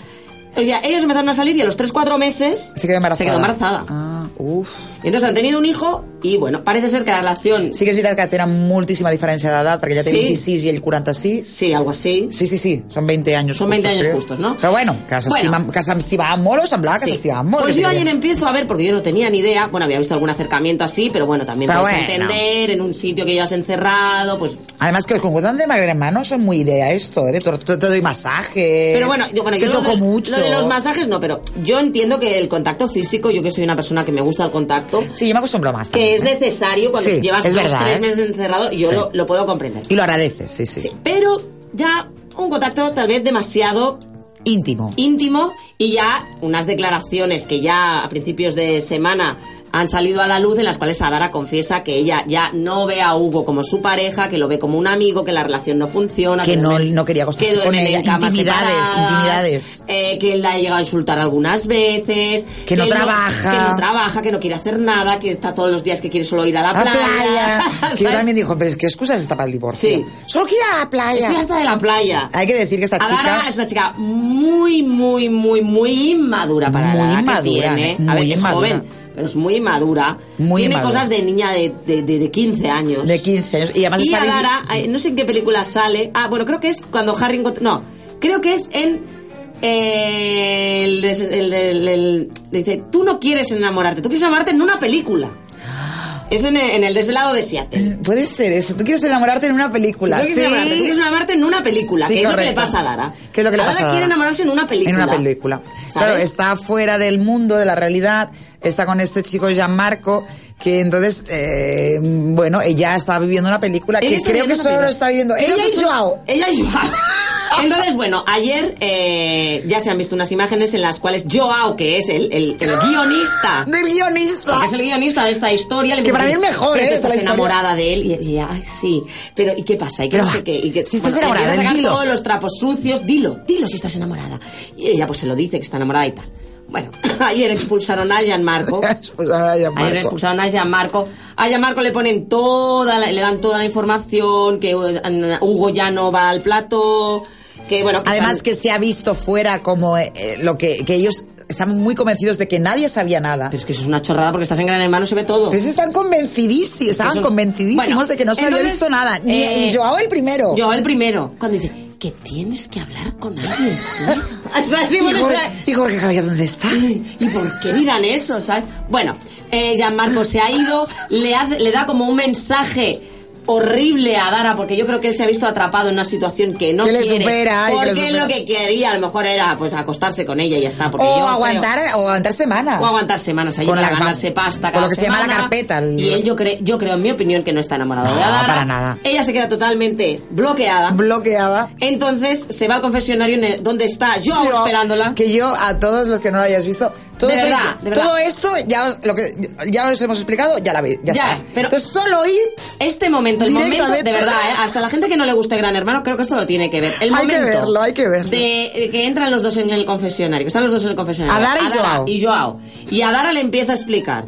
S5: O sea, ellos empezaron a salir y a los 3-4 meses
S3: Se quedó embarazada.
S5: se quedó embarazada.
S3: Ah, uf.
S5: Y entonces han tenido un hijo y bueno, parece ser que la relación...
S3: Sí que és veritat que tenen moltíssima diferència d'edat, perquè ja té
S5: Sí.
S3: 26 i ell 46.
S5: Sí, algo así.
S3: Sí, sí, sí, són 20 anys
S5: Són 20 anys justos, no?
S3: Però bueno, que s'estimaven bueno. que s'estimaven molt o semblava que
S5: Sí.
S3: s'estimaven molt.
S5: Pues
S3: que
S5: yo ayer
S3: tenien-
S5: empiezo a ver, porque yo no tenía ni idea, bueno, había visto algún acercamiento así, pero bueno, también
S3: Pero
S5: puedes
S3: bueno.
S5: entender, en un sitio que llevas encerrado, pues...
S3: Además que los concursantes de Magdalena Mano son muy idea esto, ¿eh? De Te, te doy masajes.
S5: Pero bueno, yo, bueno,
S3: te
S5: yo lo
S3: toco
S5: del-
S3: mucho.
S5: lo de los masajes no, pero yo entiendo que el contacto físico, yo que soy una persona que me gusta el contacto,
S3: Sí, yo me acostumbro más.
S5: que es
S3: también, ¿eh?
S5: necesario cuando
S3: Sí,
S5: llevas
S3: es
S5: dos,
S3: verdad,
S5: tres
S3: ¿eh?
S5: meses encerrado, yo
S3: Sí.
S5: lo, lo puedo comprender.
S3: Y lo agradeces, sí, sí.
S5: Pero ya un contacto tal vez demasiado
S3: Íntimo.
S5: íntimo y ya unas declaraciones que ya a principios de semana han salido a la luz en las cuales Adara confiesa que ella ya no ve a Hugo como su pareja, que lo ve como un amigo, que la relación no funciona,
S3: que no,
S5: duermen-
S3: no quería
S5: que
S3: acostarse con
S5: duermen
S3: ella.
S5: en camas
S3: Intimidades,
S5: separadas,
S3: intimidades.
S5: eh, que él la ha llegado a insultar algunas veces,
S3: Que no trabaja.
S5: que no trabaja, que no quiere hacer nada, que está todos los días que quiere solo ir a la,
S3: La playa. que yo
S5: ¿sabes?
S3: también dijo, pero es que excusa es esta para el divorcio.
S5: Sí.
S3: Solo que ir a la playa.
S5: Estoy harta de la playa.
S3: Hay que decir que esta chica...
S5: Adara es una chica muy, muy, muy, muy inmadura para
S3: Muy
S5: la edad
S3: inmadura,
S5: que tiene.
S3: ¿eh?
S5: A ver,
S3: Muy
S5: es
S3: inmadura.
S5: joven, pero es muy inmadura.
S3: Muy
S5: tiene
S3: inmadura.
S5: cosas de niña de, de, de- de 15 años.
S3: De 15 años. Y además
S5: y
S3: está...
S5: Adara, eh, no sé en qué película sale. Ah, bueno, creo que es cuando Harry encont- No, creo que es en... eh, el, de- el de- el- el- dice, tú no quieres enamorarte, tú quieres enamorarte en una película. Es en el, en el desvelado de Seattle.
S3: Puede ser eso. Tú quieres enamorarte en una película.
S5: Tú quieres
S3: sí.
S5: enamorarte, tú quieres enamorarte en una película,
S3: Sí,
S5: que es lo que le
S3: correcto.
S5: pasa a Dara.
S3: Que es lo que le pasa a Dara.
S5: quiere enamorarse en una película.
S3: En una película.
S5: ¿Sabes?
S3: Claro, está fuera del mundo, de la realidad. Está con este chico Gianmarco, que entonces, eh, bueno, ella está viviendo una película
S5: Ella
S3: que
S5: está
S3: creo que
S5: viviendo una
S3: solo lo
S5: película.
S3: está viviendo.
S5: Creo
S3: Ella
S5: que
S3: y
S5: solo-
S3: Joao.
S5: Ella y Joao. Entonces, bueno, ayer eh, ya se han visto unas imágenes en las cuales Joao, que es el, el- el guionista...
S3: ¡Del guionista!
S5: que es el guionista de esta historia. le
S3: Que para mí
S5: empieza
S3: es
S5: a decir,
S3: mejor,
S5: Pero
S3: ¿eh?
S5: tú
S3: esta la
S5: estás
S3: historia".
S5: enamorada de él. Y, y, ay, sí. Pero, ¿y qué pasa? Y que
S3: Pero
S5: no
S3: va,
S5: sé qué. Y que,
S3: si estás
S5: empieza
S3: enamorada,
S5: a sacar
S3: dilo.
S5: todos los trapos sucios. Dilo, dilo si estás enamorada. Y ella pues se lo dice, que está enamorada y tal. Bueno, ayer expulsaron a Gianmarco.
S3: Expulsaron a Gianmarco.
S5: Ayer expulsaron a Gianmarco. A Gianmarco le ponen toda la- le dan toda la información, que eh, Hugo ya no va al plato, que bueno... que
S3: Además
S5: están-
S3: que se ha visto fuera como eh, eh, lo que, que ellos están muy convencidos de que nadie sabía nada.
S5: Pero es que eso es una chorrada porque estás en Gran Hermano, se ve todo.
S3: Pero sí están convencidísimos, estaban
S5: Eso-
S3: convencidísimos
S5: Bueno,
S3: de que no se había
S5: entonces,
S3: visto nada. Ni
S5: eh,
S3: ni Joao el primero.
S5: Yo el primero. Cuando dice, que tienes que hablar con alguien. fuera". O sea, sí,
S3: ¿Y,
S5: bueno, o
S3: Jorge,
S5: sea,
S3: y Jorge Javier dónde está?
S5: ¿Y por qué dirán eso, sabes? Bueno, eh, Gianmarco se ha ido, le, hace- le da como un mensaje horrible a Dara, porque yo creo que él se ha visto atrapado en una situación que no
S3: Que le
S5: quiere.
S3: supera, y que le
S5: porque
S3: supera.
S5: lo que quería a lo mejor era pues acostarse con ella y ya está.
S3: O
S5: Porque yo creo-
S3: aguantar, o aguantar semanas.
S5: o aguantar semanas allí
S3: Con
S5: para
S3: la-
S5: ganarse pasta.
S3: con
S5: cada
S3: lo que se llama la
S5: semana.
S3: carpeta, el-
S5: Y él, yo, cre- yo creo, en mi opinión, que no está enamorado de
S3: No,
S5: Adara.
S3: para nada.
S5: Ella se queda totalmente bloqueada.
S3: Bloqueada.
S5: Entonces se va al confesionario en el- donde está yo
S3: Yo,
S5: esperándola.
S3: Que yo, a todos los que no lo hayáis visto, todo,
S5: De
S3: esto-
S5: verdad, de verdad.
S3: todo esto ya, os- lo que, ya os hemos explicado, ya la veis. Ya,
S5: Ya,
S3: está.
S5: pero-
S3: Entonces, solo ir
S5: Este momento, el momento, de
S3: Directamente.
S5: verdad, ¿eh? hasta la gente que no le guste Gran Hermano, creo que esto lo tiene que ver. El
S3: Hay que
S5: momento
S3: verlo, hay que verlo.
S5: De, de que entran los dos en el confesionario, que están los dos en el confesionario.
S3: Adara y Joao.
S5: Y Joao. Y Adara le empieza a explicar.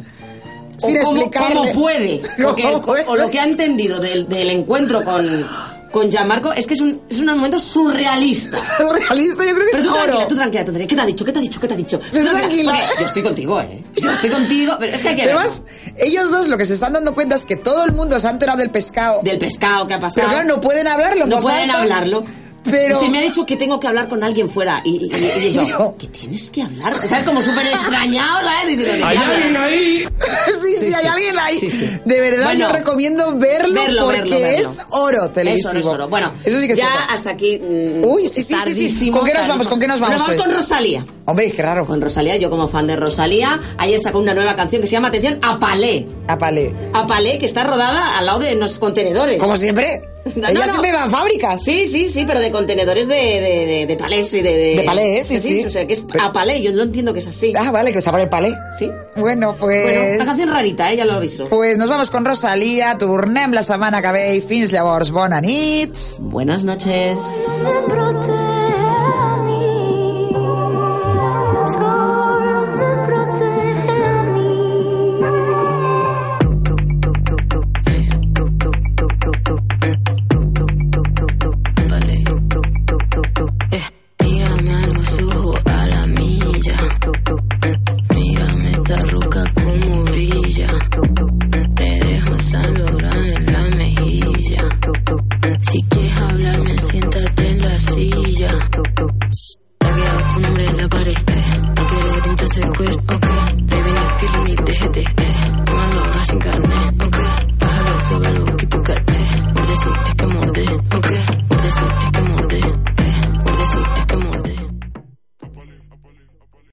S5: o
S3: Sin
S5: cómo,
S3: explicarle.
S5: cómo puede.
S3: ¿Cómo
S5: lo que-
S3: puede?
S5: O lo que ha entendido del, del encuentro con, con Gianmarco es que es un, es un momento surrealista.
S3: realista, yo creo que
S5: Pero
S3: es
S5: tú tranquila,
S3: oro.
S5: tú tranquila, tú tranquila. ¿Qué te ha dicho? ¿Qué te ha dicho? ¿Qué te ha dicho? Tú
S3: tranquila.
S5: porque Yo estoy contigo, ¿eh? Yo estoy contigo. Pero es que hay que verlo.
S3: Además, ellos dos lo que se están dando cuenta es que todo el mundo se ha enterado del pescado.
S5: Del pescado que ha pasado.
S3: Pero claro, no pueden hablarlo.
S5: No
S3: en voz
S5: pueden
S3: alta.
S5: hablarlo.
S3: Pero...
S5: Se me ha dicho que tengo que hablar con alguien fuera. Y, y- y- y yo,
S3: Yo.
S5: que tienes que hablar. ¿Sabes? Como súper extrañado, ¿sabes? Diciendo,
S4: ¿Hay
S5: "Ya, ya".
S4: alguien ahí?
S3: sí, sí,
S5: Sí,
S3: hay
S5: sí.
S3: alguien ahí.
S5: Sí, sí.
S3: De verdad,
S5: Bueno,
S3: yo recomiendo verlo,
S5: verlo,
S3: porque
S5: verlo, verlo.
S3: es oro televisivo.
S5: Eso no es oro. Bueno,
S3: Eso sí que es
S5: ya
S3: cierto.
S5: hasta aquí. mm,
S3: Uy, sí, sí, sí, sí.
S5: tardísimo,
S3: ¿Con qué nos vamos?
S5: tardísimo.
S3: ¿Con qué nos vamos
S5: Nos vamos
S3: hoy?
S5: con Rosalía.
S3: Hombre, qué raro.
S5: Con Rosalía, yo como fan de Rosalía, ayer sacó una nueva canción que se llama Atención Apalé.
S3: Apale.
S5: Apalé, que está rodada al lado de unos contenedores.
S3: Como siempre.
S5: No,
S3: Ella
S5: no, no.
S3: siempre va a fábricas.
S5: Sí, sí, sí, pero de contenedores de, de, de, de palés y de... De,
S3: De palés, sí, sí.
S5: O sea, que es
S3: Pero-
S5: a palé, yo lo entiendo que es así.
S3: Ah, vale, que se abre el palé.
S5: Sí.
S3: Bueno, pues...
S5: Bueno, una canción rarita, eh, ya lo aviso.
S3: Pues nos vamos con Rosalía, tornem la setmana que ve i fins llavors, bona nit!
S5: Buenas noches.
S20: brote
S5: eh. eh. eh. eh.